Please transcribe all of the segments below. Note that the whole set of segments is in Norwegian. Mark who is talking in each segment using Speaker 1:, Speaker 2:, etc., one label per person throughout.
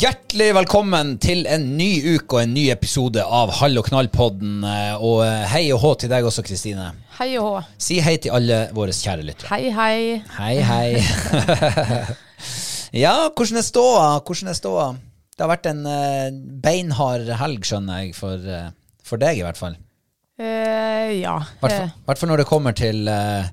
Speaker 1: Hjertelig velkommen til en ny uke og en ny episode av Hall og knall-podden. Eh, Og eh, hei og hå til deg også, Kristine.
Speaker 2: Hei og hå.
Speaker 1: Si hei til alle våre kjære lyttere.
Speaker 2: Hei, hei.
Speaker 1: Hei, hei. ja, hvordan er ståa? Hvordan er ståa? Det har vært en eh, beinhard helg, skjønner jeg, for, eh, for deg i hvert fall.
Speaker 2: Eh, ja.
Speaker 1: I hvert fall-
Speaker 2: Eh,
Speaker 1: hvert fall når det kommer til uh,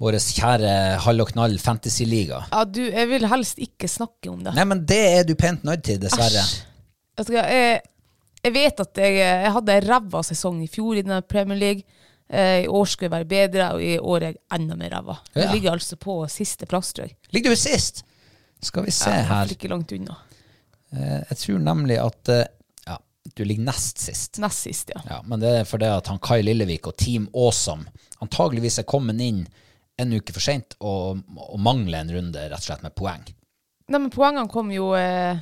Speaker 1: vår kjære Hall og knall fantasyliga.
Speaker 2: ja, du, jeg vil helst ikke snakke om det.
Speaker 1: Nei, men det er du pent nødt til, dessverre.
Speaker 2: Æsj. Vet du hva, jeg, jeg vet at jeg, jeg hadde en ræva sesong i fjor i denne Premier League. Eh, I år skulle jeg være bedre, og i år er jeg enda mer ræva. Jeg
Speaker 1: Ja.
Speaker 2: ligger altså på siste plass, tror jeg.
Speaker 1: Ligger du sist? Skal vi se
Speaker 2: Ja, jeg
Speaker 1: her.
Speaker 2: er Ikke langt unna.
Speaker 1: Eh, Jeg tror nemlig at eh, ja, du ligger nest sist.
Speaker 2: Nest sist, ja.
Speaker 1: Ja, men det er fordi at han Kai Lillevik og Team Awesome antageligvis er kommet inn en uke for seint og, og mangler en runde rett og slett med poeng.
Speaker 2: Nei, men poengene kom jo eh,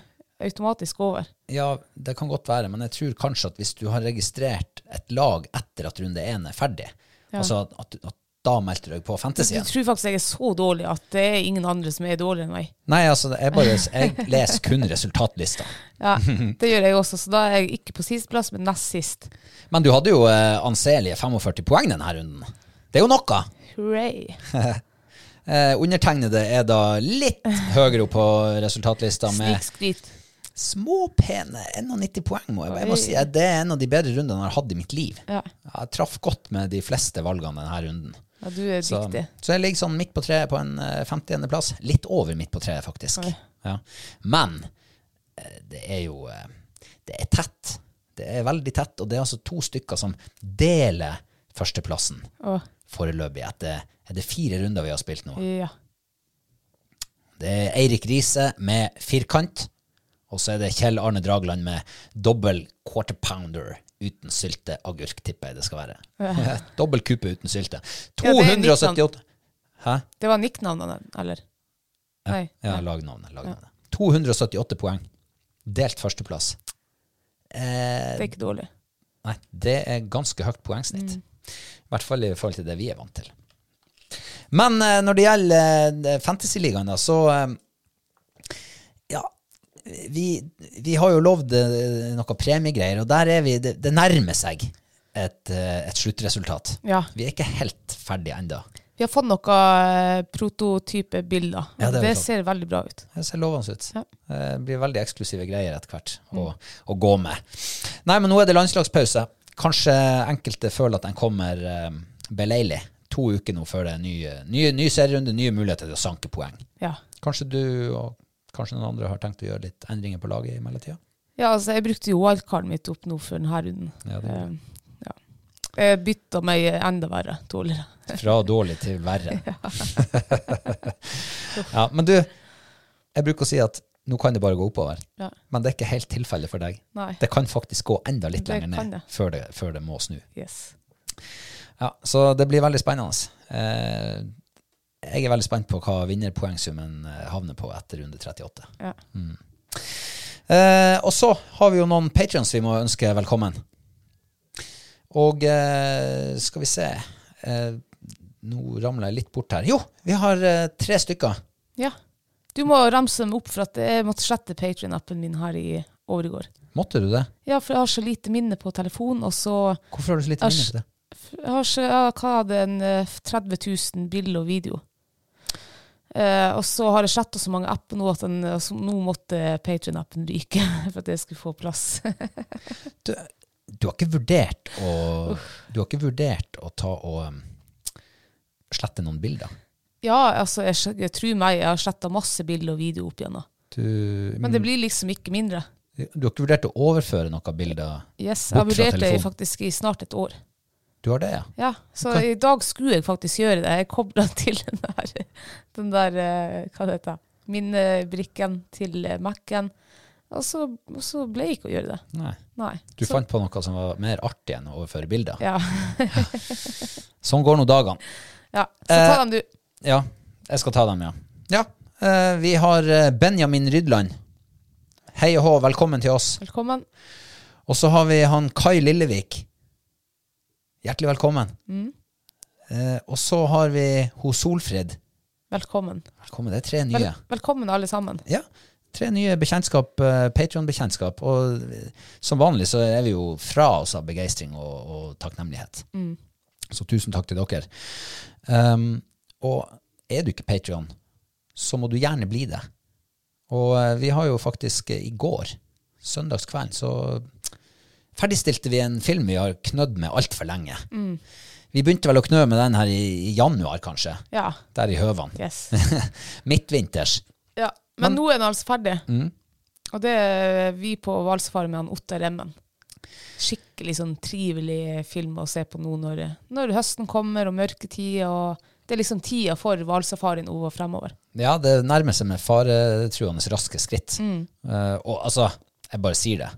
Speaker 2: automatisk over.
Speaker 1: Ja, det kan godt være, men jeg tror kanskje at hvis du har registrert et lag etter at runde én er ferdig,
Speaker 2: Ja.
Speaker 1: altså at, at, at da meldte du deg på
Speaker 2: Du
Speaker 1: Fantasyen
Speaker 2: tror faktisk jeg er så dårlig at det er ingen andre som er dårligere enn meg.
Speaker 1: Nei, altså, jeg bare jeg leser kun resultatlista.
Speaker 2: Ja, Det gjør jeg også, så da er jeg ikke på sisteplass, men nest sist.
Speaker 1: Men du hadde jo eh, anselige 45 poeng denne runden. Det er jo noe!
Speaker 2: Hooray.
Speaker 1: Eh, undertegnede er da litt høyere opp på resultatlista med
Speaker 2: Snikskryt.
Speaker 1: småpene 91 poeng. Må jeg, jeg må si at Det er en av de bedre rundene jeg har hatt i mitt liv.
Speaker 2: Ja.
Speaker 1: Jeg traff godt med de fleste valgene denne runden.
Speaker 2: Ja, du er
Speaker 1: Så,
Speaker 2: dyktig.
Speaker 1: så jeg ligger sånn midt på treet på en eh, 51. plass. Litt over midt på treet, faktisk.
Speaker 2: Oi.
Speaker 1: Ja. Men eh, det er jo eh, Det er tett. Det er veldig tett, og det er altså to stykker som deler førsteplassen
Speaker 2: Å,
Speaker 1: foreløpig. Etter er det fire runder vi har spilt nå.
Speaker 2: ja.
Speaker 1: Det er Eirik Riise med firkant, og så er det Kjell Arne Dragland med dobbel quarter pounder uten sylte agurk, tipper jeg det skal være. dobbel kupe uten sylte.
Speaker 2: Ja, det er litt sånn-
Speaker 1: 278 Hæ?
Speaker 2: Det var nicknavnene, eller? Nei.
Speaker 1: Ja, lagnavnet. lagnavnet. 278 poeng. Delt førsteplass. Eh,
Speaker 2: Det er ikke dårlig.
Speaker 1: Nei, det er ganske høyt poengsnitt. I hvert fall i forhold til det vi er vant til. Men eh, når det gjelder eh, Fantasyligaen, da, så eh, Ja, vi, vi har jo lovd eh, noe premiegreier, og der er vi Det, det nærmer seg et, eh, et sluttresultat.
Speaker 2: Ja.
Speaker 1: Vi er ikke helt ferdige ennå.
Speaker 2: Vi har fått noen prototype-bilder.
Speaker 1: Ja, det
Speaker 2: det
Speaker 1: har vi fått.
Speaker 2: ser veldig bra ut.
Speaker 1: Det ser lovende ut.
Speaker 2: Ja. Mm.
Speaker 1: Det blir veldig eksklusive greier etter hvert å, å gå med. Nei, men nå er det landslagspause. Kanskje enkelte føler at den kommer um, beleilig. To uker nå før det er ny, ny, ny serierunde, nye muligheter til å sanke poeng.
Speaker 2: Ja.
Speaker 1: Kanskje du og kanskje noen andre har tenkt å gjøre litt endringer på laget i mellomtida?
Speaker 2: Ja, altså, jeg brukte jo wildcardet mitt opp nå før denne runden.
Speaker 1: Ja, det gjorde
Speaker 2: Eh, ja. Jeg bytta meg enda verre dårligere.
Speaker 1: Fra dårlig til verre. ja, men du, jeg bruker å si at nå kan det bare gå oppover.
Speaker 2: Ja.
Speaker 1: Men det er ikke helt tilfellet for deg.
Speaker 2: Nei.
Speaker 1: Det kan faktisk gå enda litt
Speaker 2: Det
Speaker 1: lenger
Speaker 2: kan
Speaker 1: ned
Speaker 2: det.
Speaker 1: før det, før det må snu.
Speaker 2: Yes.
Speaker 1: Ja, så det blir veldig spennende. Eh, jeg er veldig spent på hva vinnerpoengsummen eh, havner på etter runde 38.
Speaker 2: Ja.
Speaker 1: Eh, og så har vi jo noen patrions vi må ønske velkommen. Og eh, skal vi se eh, Nå ramler jeg litt bort her. Jo, vi har eh, tre stykker.
Speaker 2: ja. Du må ramse dem opp, for at jeg måtte slette Patrion-appen min her i overgår.
Speaker 1: Måtte du det?
Speaker 2: Ja, for jeg har så lite minne på telefonen, og så
Speaker 1: Hvorfor har du så lite
Speaker 2: Æsj.
Speaker 1: minne til det?
Speaker 2: jeg har så, ja, hva er det, en eh, 30 000 bilder og video. Eh, og så har jeg sletta så mange apper nå at den, altså, nå måtte Patrion-appen ryke for at jeg skulle få plass.
Speaker 1: Du, du har ikke vurdert å Du har ikke vurdert å ta og um, slette noen bilder?
Speaker 2: ja, altså, jeg, skj- jeg tror meg, jeg har sletta masse bilder og video opp igjennom.
Speaker 1: Du, Mm.
Speaker 2: Men det blir liksom ikke mindre.
Speaker 1: du har ikke vurdert å overføre noen bilder?
Speaker 2: Yes, jeg har
Speaker 1: Bort fra
Speaker 2: vurdert det
Speaker 1: telefonen.
Speaker 2: faktisk i snart et år.
Speaker 1: Du har det, ja?
Speaker 2: Ja, Så
Speaker 1: Ok.
Speaker 2: i dag skulle jeg faktisk gjøre det. Jeg kobla til den der, den der eh, hva det heter, minnebrikken til eh, Mac-en. Og så, og så ble jeg ikke å gjøre det.
Speaker 1: Nei.
Speaker 2: Nei.
Speaker 1: Du
Speaker 2: så,
Speaker 1: fant på noe som var mer artig enn å overføre bilder?
Speaker 2: Ja.
Speaker 1: Sånn går nå dagene.
Speaker 2: ja. Så ta
Speaker 1: Eh,
Speaker 2: dem, du.
Speaker 1: Ja, jeg skal ta dem, ja. Ja, eh, Vi har eh, Benjamin Rydland. Hei og hå, velkommen til oss.
Speaker 2: Velkommen.
Speaker 1: Og så har vi han Kai Lillevik. Hjertelig velkommen. Eh, og så har vi ho Solfrid.
Speaker 2: Velkommen.
Speaker 1: Velkommen, det er tre nye.
Speaker 2: Vel, velkommen, alle sammen.
Speaker 1: Ja, tre nye bekjentskap, eh, Patreon-bekjentskap. Og eh, som vanlig så er vi jo fra oss av begeistring og, og takknemlighet. Så tusen takk til dere. Um, og er du ikke Patreon, så må du gjerne bli det. Og eh, vi har jo faktisk eh, i går, søndagskvelden, så ferdigstilte vi en film vi har knødd med altfor lenge. Vi begynte vel å knø med den her i, i januar, kanskje.
Speaker 2: Ja.
Speaker 1: Der i Høvan.
Speaker 2: Yes.
Speaker 1: Midtvinters.
Speaker 2: Ja. Men, nå er den altså ferdig. Og det er vi på Hvalsafari med han Ottar Remmen. Skikkelig sånn trivelig film å se på nå når, når høsten kommer og mørketida. og Det er liksom tida for hvalsafarien nå og fremover.
Speaker 1: Ja, det nærmer seg med faretruende raske skritt.
Speaker 2: Mm.
Speaker 1: Eh, og altså, jeg bare sier det.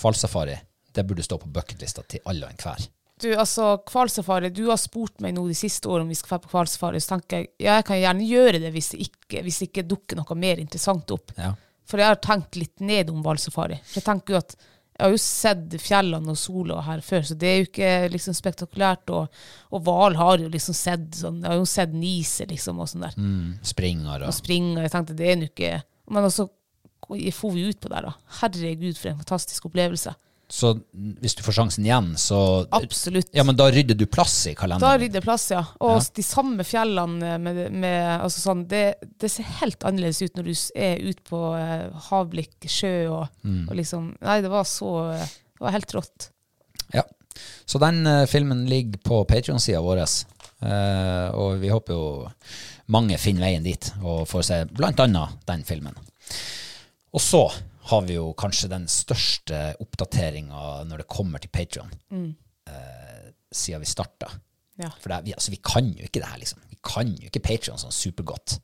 Speaker 1: Hvalsafari, det burde stå på bucketlista til alle og enhver.
Speaker 2: Du, altså, hvalsafari, du har spurt meg nå de siste årene om vi skal dra på hvalsafari. Så tenker jeg ja, jeg kan gjerne gjøre det hvis det ikke, hvis det ikke dukker noe mer interessant opp.
Speaker 1: Ja.
Speaker 2: For jeg har tenkt litt ned om hvalsafari. For jeg tenker jo at jeg har jo sett fjellene og sola her før, så det er jo ikke liksom spektakulært. Og, og hval har jo liksom sett sånn, jeg har jo sett niser liksom og sånn der.
Speaker 1: Mm, springer
Speaker 2: Og
Speaker 1: og
Speaker 2: springer. Jeg tenkte det er nå ikke Men også får vi ut på der, da. Herregud, for en fantastisk opplevelse.
Speaker 1: Så hvis du får sjansen igjen, så
Speaker 2: Absolutt.
Speaker 1: Ja, men da rydder du plass i
Speaker 2: Da
Speaker 1: kalenderen.
Speaker 2: rydder plass, ja. Og de samme fjellene med, med altså sånn, det, det ser helt annerledes ut når du s- er ute på eh, havblikk, sjø og,
Speaker 1: Mm.
Speaker 2: og liksom Nei, det var så eh, Det var helt rått.
Speaker 1: Ja. Så den eh, filmen ligger på Patrion-sida vår. eh, og vi håper jo mange finner veien dit og får se blant annet den filmen. Og så har vi jo kanskje den største oppdateringa når det kommer til Patrion, eh, siden vi starta.
Speaker 2: Ja.
Speaker 1: For det, er- vi, altså, vi kan jo ikke det her, liksom. Vi kan jo ikke Patrion sånn supergodt.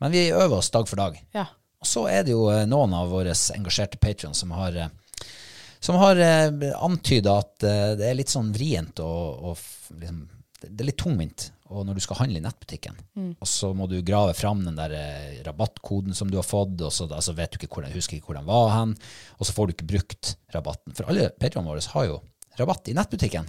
Speaker 1: Men vi øver oss dag for dag.
Speaker 2: Ja.
Speaker 1: Og så er det jo eh, noen av våre engasjerte patrions som har, eh, som har eh, antyda at eh, det er litt sånn vrient og, og f- liksom, det det er litt tungvint og når du skal handle i nettbutikken. Og så må du grave fram den der eh, rabattkoden som du har fått, og så altså, vet du ikke hvor den, husker ikke hvor den var hen, og så får du ikke brukt rabatten. For alle patrionene våre har jo rabatt i nettbutikken.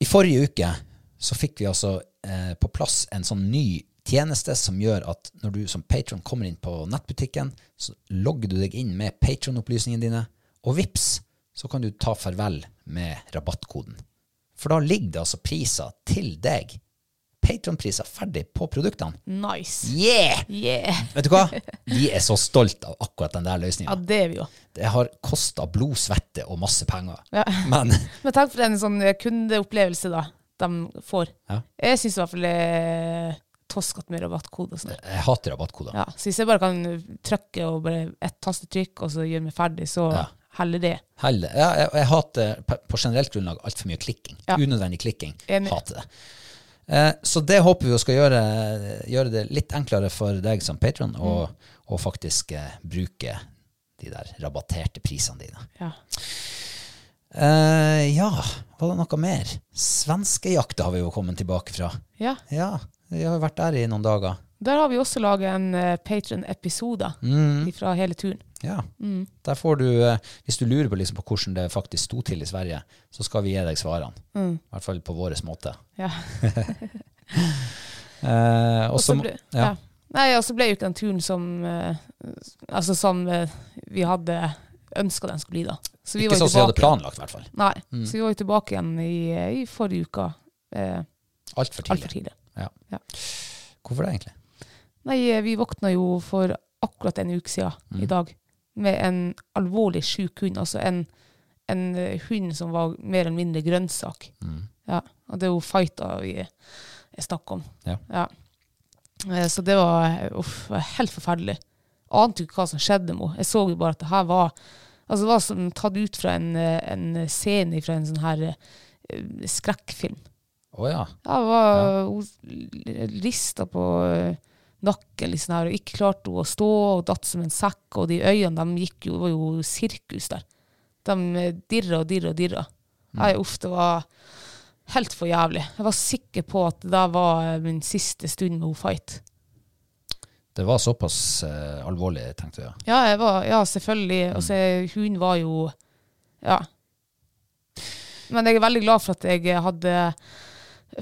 Speaker 1: I forrige uke så fikk vi altså eh, på plass en sånn ny tjeneste som gjør at når du som patron kommer inn på nettbutikken, så logger du deg inn med patron-opplysningene dine, og vips, så kan du ta farvel med rabattkoden. For da ligger det altså priser til deg. Patron-priser ferdig på produktene.
Speaker 2: Nice.
Speaker 1: Yeah!
Speaker 2: Yeah.
Speaker 1: Vet du hva? Vi er så stolt av akkurat den der
Speaker 2: Ja,
Speaker 1: løsninga.
Speaker 2: det er vi jo.
Speaker 1: Det har kosta blod, svette og masse penger.
Speaker 2: Ja.
Speaker 1: Men
Speaker 2: Men takk for en sånn eh, kundeopplevelse da, de får.
Speaker 1: Ja.
Speaker 2: Jeg syns i hvert fall eh, toskete med rabattkode og sånn.
Speaker 1: Jeg hater rabattkoder.
Speaker 2: Ja, så hvis jeg bare kan trykke og bare ett tastetrykk, og så gjøre meg ferdig, så
Speaker 1: Ja.
Speaker 2: heller det.
Speaker 1: Heller. Ja, jeg, jeg hater pe- på generelt grunnlag altfor mye klikking.
Speaker 2: Ja.
Speaker 1: Unødvendig klikking.
Speaker 2: Enig.
Speaker 1: Hater det. Eh, så det håper vi jo skal gjøre, gjøre det litt enklere for deg som patron å
Speaker 2: Mm.
Speaker 1: å faktisk eh, bruke de der rabatterte prisene dine.
Speaker 2: Ja.
Speaker 1: Eh, ja, var det noe mer? Svenskejakta har vi jo kommet tilbake fra.
Speaker 2: ja.
Speaker 1: Ja, vi har jo vært der i noen dager.
Speaker 2: Der har vi også laget en uh, Patron-episode
Speaker 1: Mm.
Speaker 2: fra hele turen.
Speaker 1: Ja.
Speaker 2: Mm.
Speaker 1: Der får du, eh, hvis du lurer på, liksom, på hvordan det faktisk sto til i Sverige, så skal vi gi deg svarene.
Speaker 2: Mm.
Speaker 1: I hvert fall på vår måte.
Speaker 2: Ja.
Speaker 1: Eh, og
Speaker 2: Og så
Speaker 1: så-
Speaker 2: ble, ja.
Speaker 1: ja.
Speaker 2: Nei, og så ble jo ikke den turen som eh, Altså som eh, vi hadde ønska den skulle bli, da. Så
Speaker 1: Ikke
Speaker 2: jo
Speaker 1: sånn som vi hadde Mm.
Speaker 2: tilbake-
Speaker 1: planlagt, i hvert fall.
Speaker 2: Nei, så vi var jo tilbake igjen i, i forrige uke. Eh,
Speaker 1: Altfor tidlig.
Speaker 2: Altfor tidlig.
Speaker 1: Ja.
Speaker 2: Ja.
Speaker 1: Hvorfor det, egentlig?
Speaker 2: Nei, eh, vi våkna jo for akkurat en uke siden i dag med en alvorlig sjuk hund. Altså en, en eh, hund som var mer eller mindre grønnsak. Ja, og det er jo fighta vi jeg snakker om.
Speaker 1: Ja.
Speaker 2: Eh, Så det var eh, uff, det var helt forferdelig. Ante jo ikke hva som skjedde med henne. Jeg så jo bare at det her var altså det var som tatt ut fra en, eh, en scene fra en sånn her eh, skrekkfilm.
Speaker 1: Å ja.
Speaker 2: Ja, hun var, Hun rista på eh, nakken liksom her, og ikke klarte hun å stå, og datt som en sekk, og de øynene de gikk jo, det var jo sirkus der. De eh, dirra og dirra og dirra. Nei, uff, det var helt for jævlig. Jeg var sikker på at det der var eh, min siste stund med hun fight.
Speaker 1: Det var såpass eh, alvorlig, tenkte jeg.
Speaker 2: Ja, jeg var, ja selvfølgelig. Og så hun var jo Ja. Men jeg er veldig glad for at jeg hadde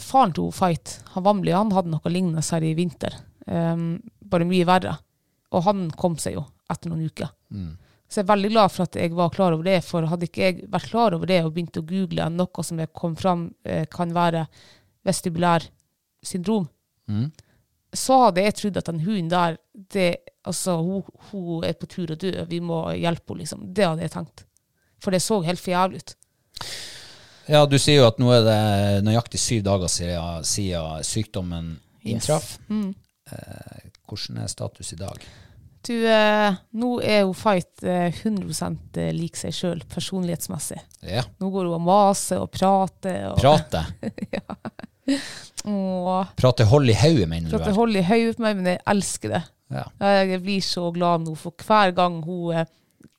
Speaker 2: Faren til hun Fight, han Vamli, han hadde noe lignende her i vinter. Ehm, bare mye verre. Og han kom seg jo etter noen uker. Så jeg er veldig glad for at jeg var klar over det, for hadde ikke jeg vært klar over det og begynt å google noe som jeg kom fram eh, kan være vestibulær syndrom, så hadde jeg trodd at den hunden der det, altså, hun, hun er på tur å dø, vi må hjelpe henne, liksom. Det hadde jeg tenkt. For det så helt for jævlig ut.
Speaker 1: Ja, du sier jo at nå er det nøyaktig syv dager siden, siden sykdommen inntraff. Eh, hvordan er status i dag?
Speaker 2: Du, eh, nå er hun Fight eh, 100 lik seg sjøl personlighetsmessig.
Speaker 1: Ja,
Speaker 2: Nå går hun og maser og prater. Og,
Speaker 1: prate.
Speaker 2: og,
Speaker 1: Prate hold i hodet, mener du
Speaker 2: for at det
Speaker 1: vel?
Speaker 2: holder i hodet på meg, men jeg elsker det.
Speaker 1: Ja.
Speaker 2: Jeg blir så glad nå, for hver gang hun eh,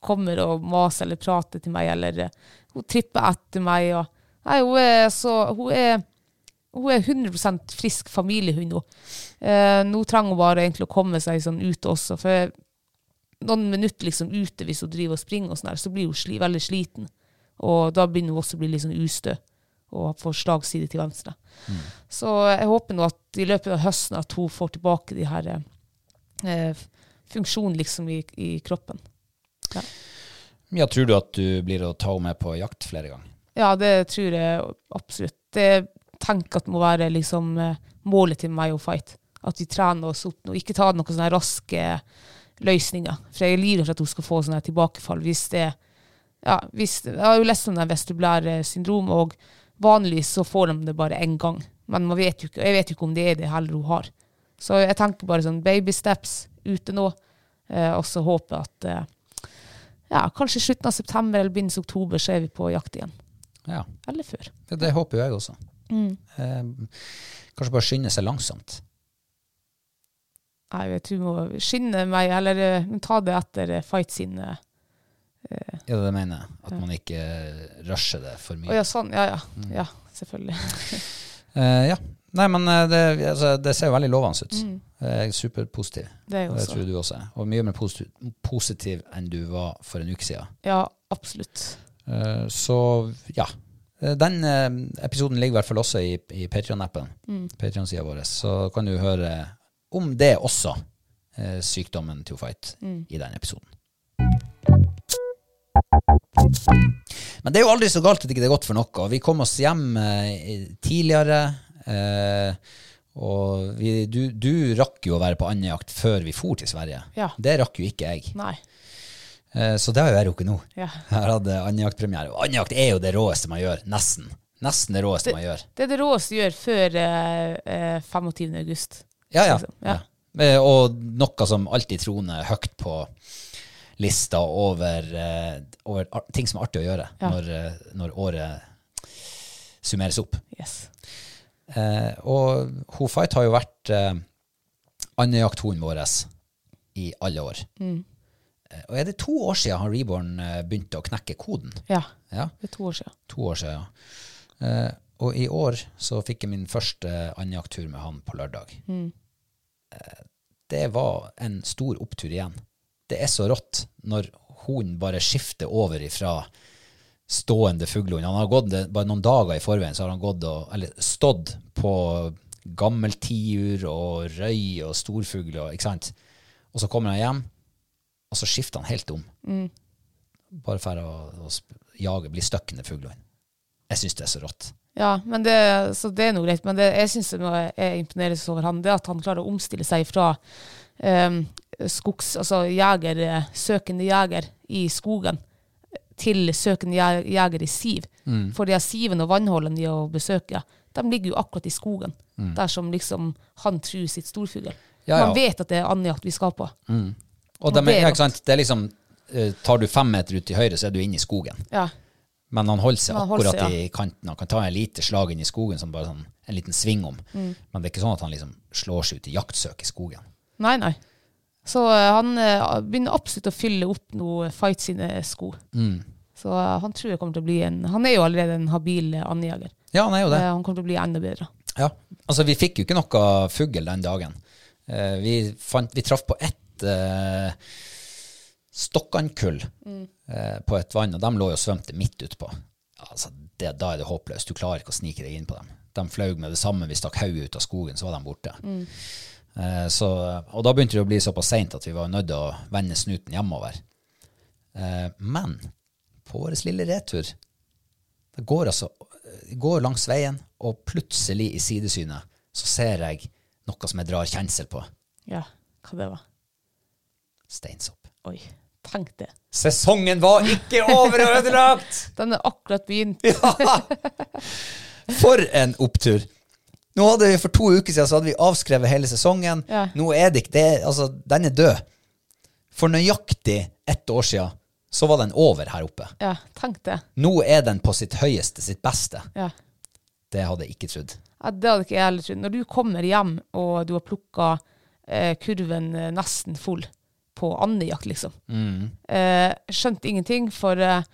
Speaker 2: kommer og maser eller prater til meg, eller eh, hun tripper etter meg. Og, nei, hun er så Hun er, hun er 100 frisk familiehund nå. Eh, nå trenger hun bare egentlig å komme seg sånn ut også, for noen minutter liksom ute hvis hun driver og springer, og sånn her, så blir hun sli, veldig sliten. Og da begynner hun også å bli litt sånn ustø og får slagside til venstre. Så jeg håper nå at i løpet av høsten at hun får tilbake de her eh, eh, funksjon liksom i, i kroppen.
Speaker 1: ja, tror du at du blir å ta henne med på jakt flere ganger?
Speaker 2: Ja, det tror jeg absolutt. Det tenker at det må være liksom eh, målet til meg å fight. At vi trener oss opp nå. Ikke ta noen sånne raske løsninger. For jeg er lider for at hun skal få sånne tilbakefall hvis det ja, hvis, Jeg har jo lest om det vestibulære syndrom, og vanligvis så får de det bare én gang. Men man vet jo ikke, jeg vet jo ikke om det er det heller hun har. Så jeg tenker bare sånn baby steps ute nå, eh, og så håper jeg at eh, ja, kanskje i slutten av september eller begynnelsen av oktober så er vi på jakt igjen.
Speaker 1: Ja,
Speaker 2: Eller før.
Speaker 1: det, det håper jo jeg også. Eh, kanskje bare skynde seg langsomt.
Speaker 2: Nei, jeg tror må skynde meg, eller eh, men ta det etter eh, fight sin eh,
Speaker 1: Er det det jeg mener? At man ikke rusher det for mye.
Speaker 2: Å ja, sånn. Ja, ja. Ja, selvfølgelig.
Speaker 1: Eh, ja. Nei, men eh, det, altså, det ser jo veldig lovende ut. Eh, Jeg er superpositiv.
Speaker 2: Det er jo
Speaker 1: Og det
Speaker 2: Mm. også.
Speaker 1: tror jeg du også er. Og mye mer positiv, positiv enn du var for en uke siden.
Speaker 2: Ja, absolutt.
Speaker 1: Eh, så ja. Eh, Den eh, episoden ligger i hvert fall også i, i Patrion-appen.
Speaker 2: Mm.
Speaker 1: Patrion-sida vår. Så kan du høre om det også. eh, Sykdommen to fight
Speaker 2: Mm.
Speaker 1: i den episoden. Men det er jo aldri så galt at ikke det er godt for noe. Vi kom oss hjem eh, i- tidligere. Eh, og vi, du, du rakk jo å være på andejakt før vi for til Sverige.
Speaker 2: Ja.
Speaker 1: Det rakk jo ikke jeg.
Speaker 2: Nei.
Speaker 1: Eh, så det har jo jeg rukket nå.
Speaker 2: Ja.
Speaker 1: Jeg hadde andejaktpremiere. Og andejakt er jo det råeste man gjør. Nesten. Nesten det råeste man gjør.
Speaker 2: Det er det råeste du gjør før eh, eh, 25. august.
Speaker 1: Ja, ja.
Speaker 2: Liksom,
Speaker 1: ja.
Speaker 2: ja.
Speaker 1: Eh, Og noe som alltid troner høyt på lista over, eh, over ar- ting som er artig å gjøre
Speaker 2: Ja.
Speaker 1: når, eh, når året summeres opp.
Speaker 2: Yes.
Speaker 1: Eh, og hun Fight har jo vært eh, andjakthorn vår i alle år.
Speaker 2: Mm.
Speaker 1: Eh, og er det to år siden han Reborn eh, begynte å knekke koden?
Speaker 2: Ja.
Speaker 1: Ja,
Speaker 2: Det er to år siden.
Speaker 1: to år siden, ja. Eh, og i år så fikk jeg min første andjakttur med han på lørdag. Eh, det var en stor opptur igjen. Det er så rått når hunden bare skifter over ifra stående fuglehund. Han har gått det, bare noen dager i forveien, så har han gått og, eller stått på gammel tiur og røy og storfugl og ikke sant. Og så kommer han hjem, og så skifter han helt om. Bare for å, å sp- jage, bli støkkende fuglehund. Jeg syns det er så rått.
Speaker 2: Ja, men det, så det er noe greit. Men det, jeg syns det noe jeg imponeres over han, det er at han klarer å omstille seg fra um, skogs... Altså jeger, eh, søkende jeger i skogen til søkende je- jeger i siv.
Speaker 1: Mm.
Speaker 2: For de her siven og vannhullene de har å besøke, de ligger jo akkurat i skogen. Der som liksom han tror sitt storfugl.
Speaker 1: Mm. Ja, ja.
Speaker 2: Man vet at det er andjakt vi skal på.
Speaker 1: Og
Speaker 2: Ja,
Speaker 1: de,
Speaker 2: det er
Speaker 1: ja,
Speaker 2: rått.
Speaker 1: ikke sant? Det er liksom, eh, tar du fem meter ut til høyre, så er du inne i skogen.
Speaker 2: Ja.
Speaker 1: Men han holder seg
Speaker 2: Men han holder
Speaker 1: akkurat
Speaker 2: seg, ja.
Speaker 1: i kanten. Han kan ta en lite slag inn i skogen, som bare sånn, en liten sving om.
Speaker 2: Mm.
Speaker 1: Men det er ikke sånn at han liksom slår seg ut i jaktsøk i skogen.
Speaker 2: Nei, nei. Så eh, han eh, begynner absolutt å fylle opp noe Fight sine sko. Så eh, han tror jeg kommer til å bli en Han er jo allerede en habil eh, andjeger.
Speaker 1: Ja, han er jo det.
Speaker 2: Eh, Han kommer til å bli enda bedre.
Speaker 1: Ja. Altså, vi fikk jo ikke noe fugl den dagen. Eh, vi, fant, vi traff på ett eh, stokkandkull eh, på et vann, og de lå jo og svømte midt utpå. Altså, det, da er det håpløst. Du klarer ikke å snike deg inn på dem. De fløy med det samme vi stakk hodet ut av skogen, så var de borte. Eh, så, og da begynte det å bli såpass seint at vi var nødt til å vende snuten hjemover. Eh, men på vår lille retur det går altså går langs veien, og plutselig i sidesynet så ser jeg noe som jeg drar kjensel på.
Speaker 2: Ja, hva det var.
Speaker 1: Steinsopp.
Speaker 2: Oi, tenk det.
Speaker 1: Sesongen var ikke over og ødelagt!
Speaker 2: Den er akkurat begynt.
Speaker 1: Ja! For en opptur. Nå hadde vi For to uker siden så hadde vi avskrevet hele sesongen.
Speaker 2: Ja.
Speaker 1: Nå er det ikke det, altså, Den er død. For nøyaktig ett år siden så var den over her oppe.
Speaker 2: Ja, tenk det.
Speaker 1: Nå er den på sitt høyeste, sitt beste.
Speaker 2: Ja.
Speaker 1: Det hadde jeg ikke trodd.
Speaker 2: Ja, det hadde ikke jeg heller trodd. Når du kommer hjem, og du har plukka eh, kurven eh, nesten full på andejakt, liksom.
Speaker 1: Mm.
Speaker 2: Eh, skjønte ingenting, for eh,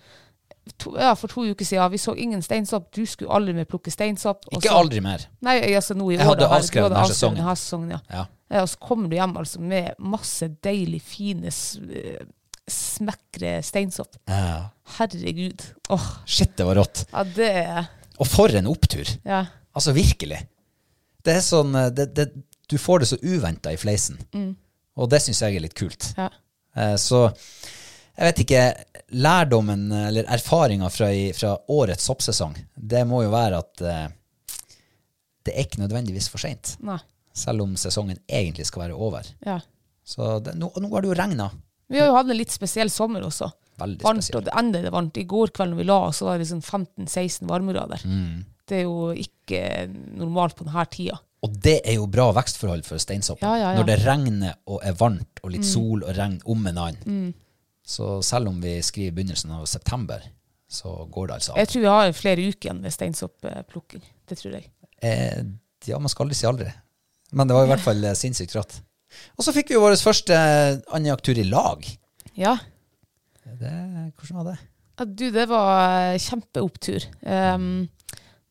Speaker 2: to, ja, for to uker siden vi så ingen steinsopp. Du skulle aldri mer plukke steinsopp. og
Speaker 1: Ikke
Speaker 2: så-
Speaker 1: aldri mer.
Speaker 2: Nei, altså nå i
Speaker 1: Jeg
Speaker 2: år,
Speaker 1: hadde
Speaker 2: da, her-
Speaker 1: avskrevet
Speaker 2: du
Speaker 1: denne
Speaker 2: hadde avskrevet
Speaker 1: sesongen.
Speaker 2: denne sesongen. Ja.
Speaker 1: Ja.
Speaker 2: Eh, og så kommer du hjem altså, med masse deilig, fine, s- eh, smekre steinsopp.
Speaker 1: Ja.
Speaker 2: Herregud. Åh,
Speaker 1: Shit, det var rått.
Speaker 2: ja, det er
Speaker 1: Og for en opptur!
Speaker 2: ja.
Speaker 1: Altså virkelig. Det er sånn eh, det, det, Du får det så uventa i fleisen. Og det syns jeg er litt kult.
Speaker 2: ja.
Speaker 1: Eh, Så jeg vet ikke Lærdommen eh, eller erfaringa fra, i- fra årets soppsesong, det må jo være at eh, det er ikke nødvendigvis for seint.
Speaker 2: Nei.
Speaker 1: Selv om sesongen egentlig skal være over.
Speaker 2: Ja.
Speaker 1: Så det, nå, nå har det jo regna.
Speaker 2: Vi har jo hatt en litt spesiell sommer også.
Speaker 1: Veldig
Speaker 2: varmt,
Speaker 1: spesiell.
Speaker 2: og det enda det varmt. I går kveld når vi la oss, så var det sånn 15-16 varmegrader.
Speaker 1: Mm.
Speaker 2: Det er jo ikke normalt på denne tida.
Speaker 1: Og det er jo bra vekstforhold for steinsoppen.
Speaker 2: Ja, ja, Mm. ja.
Speaker 1: Når det regner og er varmt og litt sol og regn om en annen.
Speaker 2: Mm.
Speaker 1: Så selv om vi skriver begynnelsen av september, så går det altså an.
Speaker 2: Jeg tror vi har flere uker igjen med steinsopplukking. Det tror jeg.
Speaker 1: Eh, ja, man skal aldri si aldri. Men det var i hvert fall eh, sinnssykt rått. Og så fikk vi jo vår første andjaktur i lag.
Speaker 2: Ja.
Speaker 1: Det, hvordan var det?
Speaker 2: Ja, Du, det var eh, kjempeopptur. Ehm,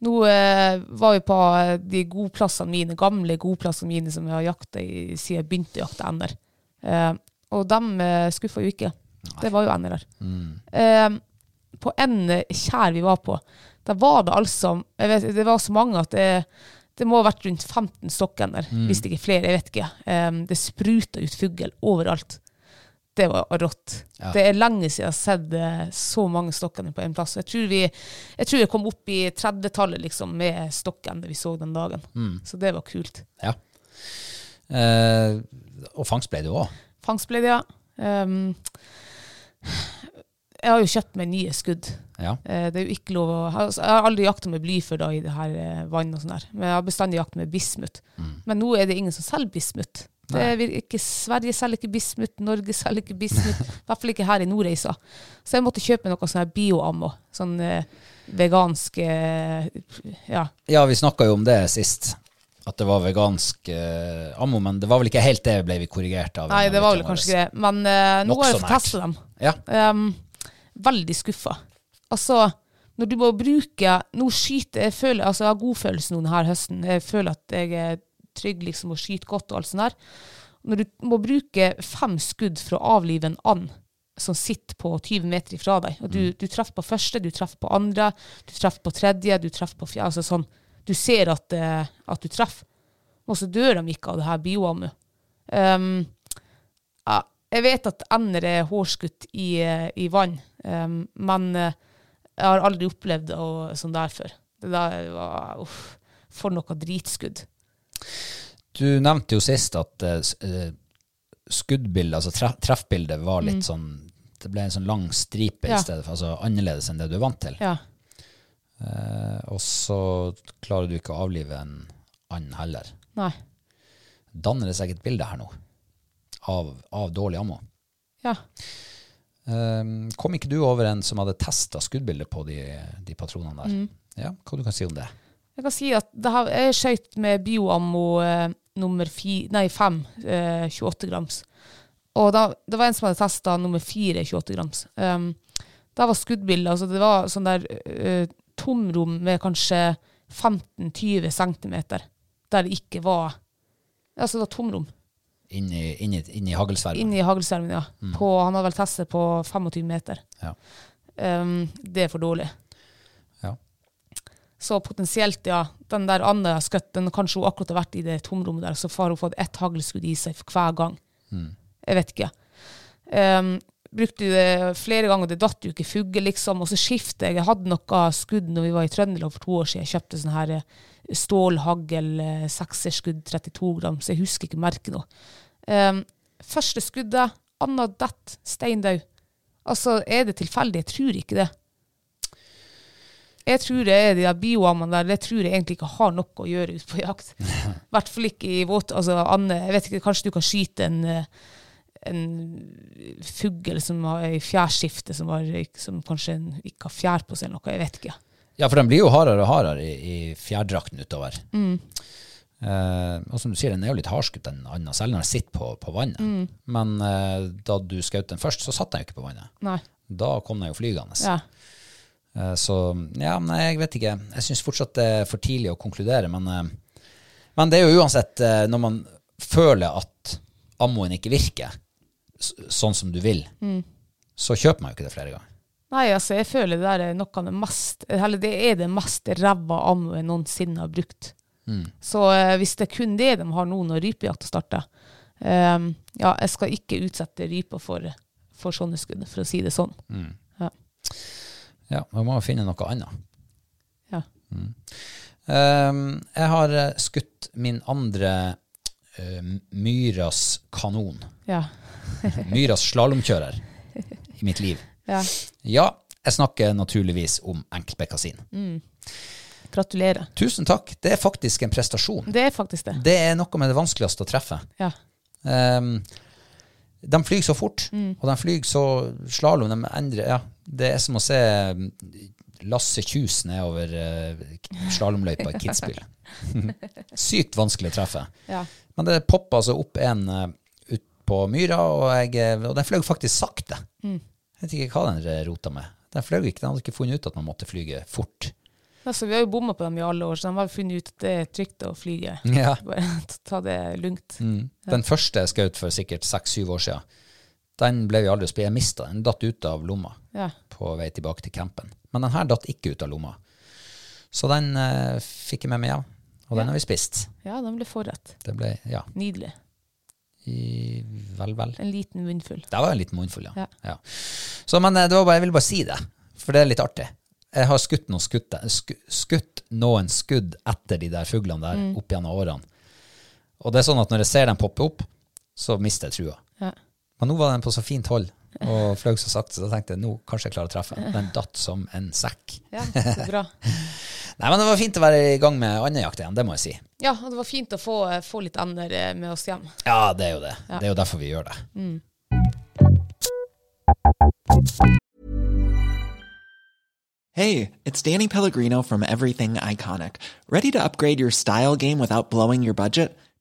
Speaker 2: nå eh, var vi på eh, de godplassene mine, gamle godplassene mine som jeg har jakta i siden jeg begynte å jakte ender. Ehm, og dem uh, skuffa jo ikke. Det var jo ender der. Ehm, på en eh, tjær vi var på, der var det altså jeg vet, Det var så mange at det, det må ha vært rundt 15 stokkender, hvis det ikke er flere. Jeg vet ikke. Ehm, det spruta ut fugl overalt. Det var rått. Det er lenge siden jeg har sett eh, så mange stokkender på én plass. Jeg tror, vi, jeg tror jeg kom opp i 30-tallet liksom, med stokkender vi så den dagen. Så det var kult.
Speaker 1: Ja. Eh, og fangst ble det òg.
Speaker 2: Fangst ble det, ja. Um, Ehm, Jeg har jo kjøpt meg nye skudd.
Speaker 1: Ja.
Speaker 2: Eh, Det er jo ikke lov å, altså, jeg har aldri jakta med bly før da i det her eh, vann og sånn der. Men jeg har bestandig jakta med bismut. Men nå er det ingen som selger bismut. Det er vir- ikke, Sverige selger ikke bismut, Norge selger ikke bismut. I hvert fall ikke her i Nordreisa. Så jeg måtte kjøpe noe sånn her bioammo. Sånn eh, vegansk eh, Ja.
Speaker 1: Ja, vi snakka jo om det sist. At det var vegansk eh, ammo, men det var vel ikke helt det ble vi korrigert av.
Speaker 2: Nei, det var vel kanskje ikke det. Men eh, nå
Speaker 1: Nok
Speaker 2: har
Speaker 1: så
Speaker 2: jeg fått
Speaker 1: nært.
Speaker 2: testa dem.
Speaker 1: Ja.
Speaker 2: Ehm, veldig skuffa. Altså, når du må bruke Nå skyter jeg føler, altså jeg har god følelse nå denne høsten. Jeg føler at jeg er trygg liksom og skyter godt og alt sånt der. Når du må bruke fem skudd for å avlive en and som sitter på 20 meter ifra deg, og du, du treffer på første, du treffer på andre, du treffer på tredje, du treffer på fjerde, altså sånn. Du ser at, eh, at du treffer. Og så dør de ikke av det her bioammu. Ehm, ja, jeg vet at ender er hårskutt i, eh, i vann, ehm, men eh, jeg har aldri opplevd det og- sånn der før. Det der var uff, For noe dritskudd.
Speaker 1: Du nevnte jo sist at eh, s- eh, skuddbildet, altså tref treffbildet, var litt sånn Det ble en sånn lang stripe
Speaker 2: Ja.
Speaker 1: i stedet for, altså annerledes enn det du er vant til.
Speaker 2: Ja.
Speaker 1: Eh, og så klarer du ikke å avlive en and heller.
Speaker 2: Nei.
Speaker 1: Danner det seg et bilde her nå av, av dårlig ammo?
Speaker 2: Ja.
Speaker 1: Eh, kom ikke du over en som hadde testa skuddbildet på de, de patronene der? Ja, hva du kan si om det?
Speaker 2: Jeg kan si at det her, jeg skøyt med bioammo eh, nummer fi, nei, fem, eh, 28 grams. Og da, det var en som hadde testa nummer fire, 28 grams. Um, da var skuddbildet altså Det var sånn der eh, tomrom med kanskje 15-20 cm der det ikke var Altså, det var tomrom
Speaker 1: Inni, inni, inni hagelsvermen?
Speaker 2: inni haglskjermen, ja. På, han hadde vel testet på 25 meter.
Speaker 1: Ja.
Speaker 2: Um, det er for dårlig.
Speaker 1: Ja.
Speaker 2: Så potensielt, ja. Den der anda jeg har skutt, den kanskje hun akkurat har vært i det tomrommet der, så har hun fått ett haglskudd i seg for hver gang. Jeg vet ikke. Ehm, brukte det flere ganger, det datt jo ikke fugge, liksom. Og så skiftet jeg. Jeg hadde noe skudd når vi var i Trøndelag for to år siden. Jeg kjøpte sånn her eh, stålhagl, eh, sekserskudd, 32 gram, så jeg husker ikke merket nå. Ehm, første skuddet, anna dett, steindau. Altså, er det tilfeldig? Jeg tror ikke det. Jeg tror det er de der bioammene der, det tror jeg egentlig ikke har noe å gjøre ute på jakt. I hvert fall ikke i våt... Altså, Anne, jeg vet ikke, kanskje du kan skyte en, eh, en fugl som har i fjærskifte, som, har, som kanskje en, ikke har fjær på seg eller noe, jeg vet ikke.
Speaker 1: Ja, for den blir jo hardere og hardere i, i fjærdrakten utover. Eh, og som du sier, den er jo litt hardskutt, den anda, særlig når den sitter på, på vannet. Men eh, da du skjøt den først, så satt den jo ikke på vannet.
Speaker 2: Nei.
Speaker 1: Da kom den jo flygende.
Speaker 2: Ja.
Speaker 1: Eh, så ja, nei, jeg vet ikke. Jeg syns fortsatt det er for tidlig å konkludere, men, eh, men det er jo uansett eh, når man føler at ammoen ikke virker s- sånn som du vil, så kjøper man jo ikke det flere ganger.
Speaker 2: Nei, altså, jeg føler det der er noe av det mest Eller det er det mest ræva ammo jeg noensinne har brukt. Så eh, hvis det er kun det de har nå når rypejakta starter eh, Ja, jeg skal ikke utsette rypa for, for sånne skudd, for å si det sånn. Ja.
Speaker 1: Ja, man må jo finne noe annet.
Speaker 2: ja.
Speaker 1: Ehm, jeg har eh, skutt min andre eh, Myras kanon.
Speaker 2: ja.
Speaker 1: Myras slalåmkjører i mitt liv.
Speaker 2: ja.
Speaker 1: Ja, jeg snakker naturligvis om enkeltbekkasin.
Speaker 2: Gratulerer.
Speaker 1: Tusen takk. Det er faktisk en prestasjon.
Speaker 2: Det er faktisk det.
Speaker 1: Det er noe med det vanskeligste å treffe.
Speaker 2: Ja.
Speaker 1: Ehm, de flyr så fort, og de flyr så slalåm. De endrer Ja, det er som å se mm, Lasse Kjus nedover uh, slalåmløypa i Kitzbühel. Sykt vanskelig å treffe.
Speaker 2: Ja.
Speaker 1: Men det poppa altså opp en eh, ut på myra, og, jeg, eh, og den fløy faktisk sakte. Jeg vet ikke hva den eh, rota med. Den fløy ikke, den hadde ikke funnet ut at man måtte flyge fort.
Speaker 2: Altså, vi har jo bomma på dem i alle år, så de har funnet ut at det er trygt å flyge.
Speaker 1: Ja.
Speaker 2: Bare ta det lugnt.
Speaker 1: Mm. Den første jeg skjøt for sikkert seks-syv år siden, den ble vi aldri å spille. Jeg mista den. Den datt ut av lomma
Speaker 2: Ja.
Speaker 1: på vei tilbake til campen. Men den her datt ikke ut av lomma. Så den eh, fikk jeg med meg hjem, og den har vi spist.
Speaker 2: ja, de ble forrett.
Speaker 1: Det ble, ja,
Speaker 2: Nydelig.
Speaker 1: i, vel, vel.
Speaker 2: En liten munnfull.
Speaker 1: Det var en liten munnfull, ja.
Speaker 2: Ja.
Speaker 1: ja. Så, men eh, det var bare, jeg ville bare si det, for det er litt artig. Jeg har skutt noen skutt, sku- skutt noen skudd etter de der fuglene der
Speaker 2: Mm.
Speaker 1: opp gjennom årene. Og det er sånn at når jeg ser dem poppe opp, så mister jeg trua.
Speaker 2: Ja.
Speaker 1: Men nå var den på så fint hold og fløy så sakte, så da tenkte jeg nå kanskje jeg klarer å treffe. Den datt som en sekk.
Speaker 2: Ja, så bra.
Speaker 1: Nei, men det var fint å være i gang med andejakt igjen, det må jeg si.
Speaker 2: Ja, og det var fint å få, få litt ander eh, med oss hjem.
Speaker 1: Ja, det er jo det. Det er jo derfor vi gjør det.
Speaker 3: Hey, it's Danny Pellegrino from Everything Iconic. Ready to upgrade your style game without blowing your budget?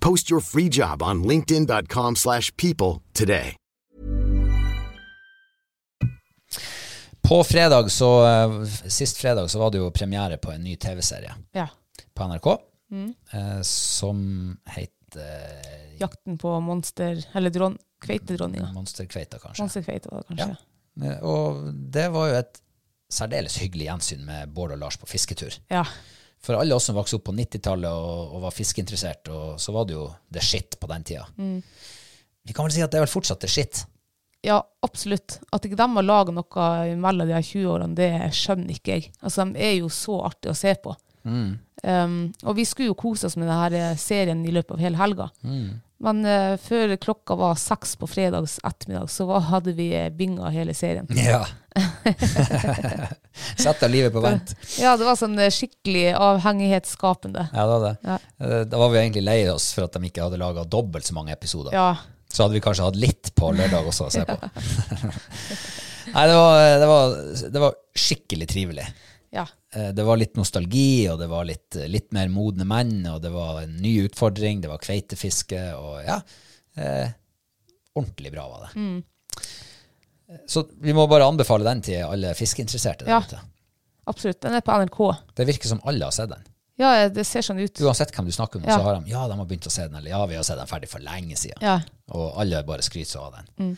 Speaker 4: Post your free job on linkedin.com/people slash people today.
Speaker 1: På fredag, så, eh, sist fredag, så var det jo premiere på en ny TV-serie
Speaker 2: Ja.
Speaker 1: på NRK
Speaker 2: Mm.
Speaker 1: eh, som eh, heter
Speaker 2: Jakten på monster... Eller dron, kveitedronninga.
Speaker 1: Monsterkveita, kanskje.
Speaker 2: Monsterkveite var det kanskje.
Speaker 1: Eh, Og det var jo et særdeles hyggelig gjensyn med Bård og Lars på fisketur.
Speaker 2: Ja.
Speaker 1: For alle oss som vokste opp på 90-tallet og, og var fiskeinteressert, og så var det jo the shit på den tida.
Speaker 2: Mm.
Speaker 1: Vi kan vel si at det er vel fortsatt the shit.
Speaker 2: ja, absolutt. At ikke de har laga noe mellom de her 20 årene, det skjønner ikke jeg. Altså, De er jo så artige å se på. Um, og vi skulle jo kose oss med denne serien i løpet av hele helga. Men eh, før klokka var seks på fredags ettermiddag, så var, hadde vi eh, binga hele serien.
Speaker 1: Ja. Sette livet på vent.
Speaker 2: Ja, det var sånn eh, skikkelig avhengighetsskapende.
Speaker 1: Ja, det var det.
Speaker 2: Ja.
Speaker 1: Eh, Da var vi egentlig lei oss for at de ikke hadde laga dobbelt så mange episoder.
Speaker 2: Ja.
Speaker 1: Så hadde vi kanskje hatt litt på lørdag også å se på. Nei, det var, det, var, det var skikkelig trivelig.
Speaker 2: ja.
Speaker 1: Eh, Det var litt nostalgi, og det var litt, litt mer modne menn, og det var en ny utfordring, det var kveitefiske, og ja eh, Ordentlig bra var det.
Speaker 2: Mm.
Speaker 1: Eh, Så vi må bare anbefale den til alle fiskeinteresserte. der
Speaker 2: Ja.
Speaker 1: ute.
Speaker 2: Absolutt. Den er på NRK.
Speaker 1: Det virker som alle har sett den.
Speaker 2: Ja, det ser sånn ut.
Speaker 1: Uansett hvem du snakker med,
Speaker 2: Ja.
Speaker 1: så har de ja, de har begynt å se den, eller ja, vi har sett den ferdig for lenge siden.
Speaker 2: Ja.
Speaker 1: Og alle bare skryter av den.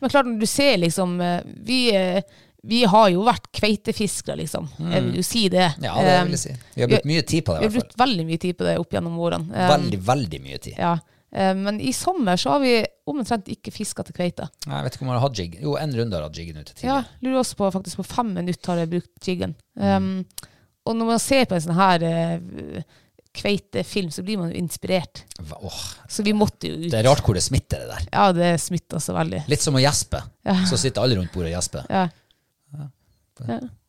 Speaker 2: Men klart, når du ser liksom eh, Vi, eh, vi har jo vært kveitefiskere, liksom. Jeg vil jo si det.
Speaker 1: Mm. Ja, det
Speaker 2: Um,
Speaker 1: vil jeg si. Vi har brukt
Speaker 2: vi-
Speaker 1: mye tid på det,
Speaker 2: Vi
Speaker 1: i
Speaker 2: har
Speaker 1: hvert
Speaker 2: brukt
Speaker 1: fall.
Speaker 2: veldig mye tid på det opp gjennom årene. Um,
Speaker 1: Veldig, veldig mye tid.
Speaker 2: Ja. Eh, Men i sommer så har vi omtrent ikke fiska til kveite.
Speaker 1: Jeg vet ikke om man har hatt jigg. Jo, en runde har hatt jiggen ute
Speaker 2: Ja,
Speaker 1: tidligere.
Speaker 2: lurer også på faktisk på fem minutter har jeg brukt jiggen.
Speaker 1: Mm.
Speaker 2: Um, og når man ser på en sånn her eh, kveitefilm, så blir man jo inspirert.
Speaker 1: Hva- Åh,
Speaker 2: Så vi måtte jo ut.
Speaker 1: det er rart hvor det smitter, det der.
Speaker 2: Ja, det smitta så veldig.
Speaker 1: Litt som å gjespe. Så sitter alle rundt bordet og gjesper.
Speaker 2: Ja.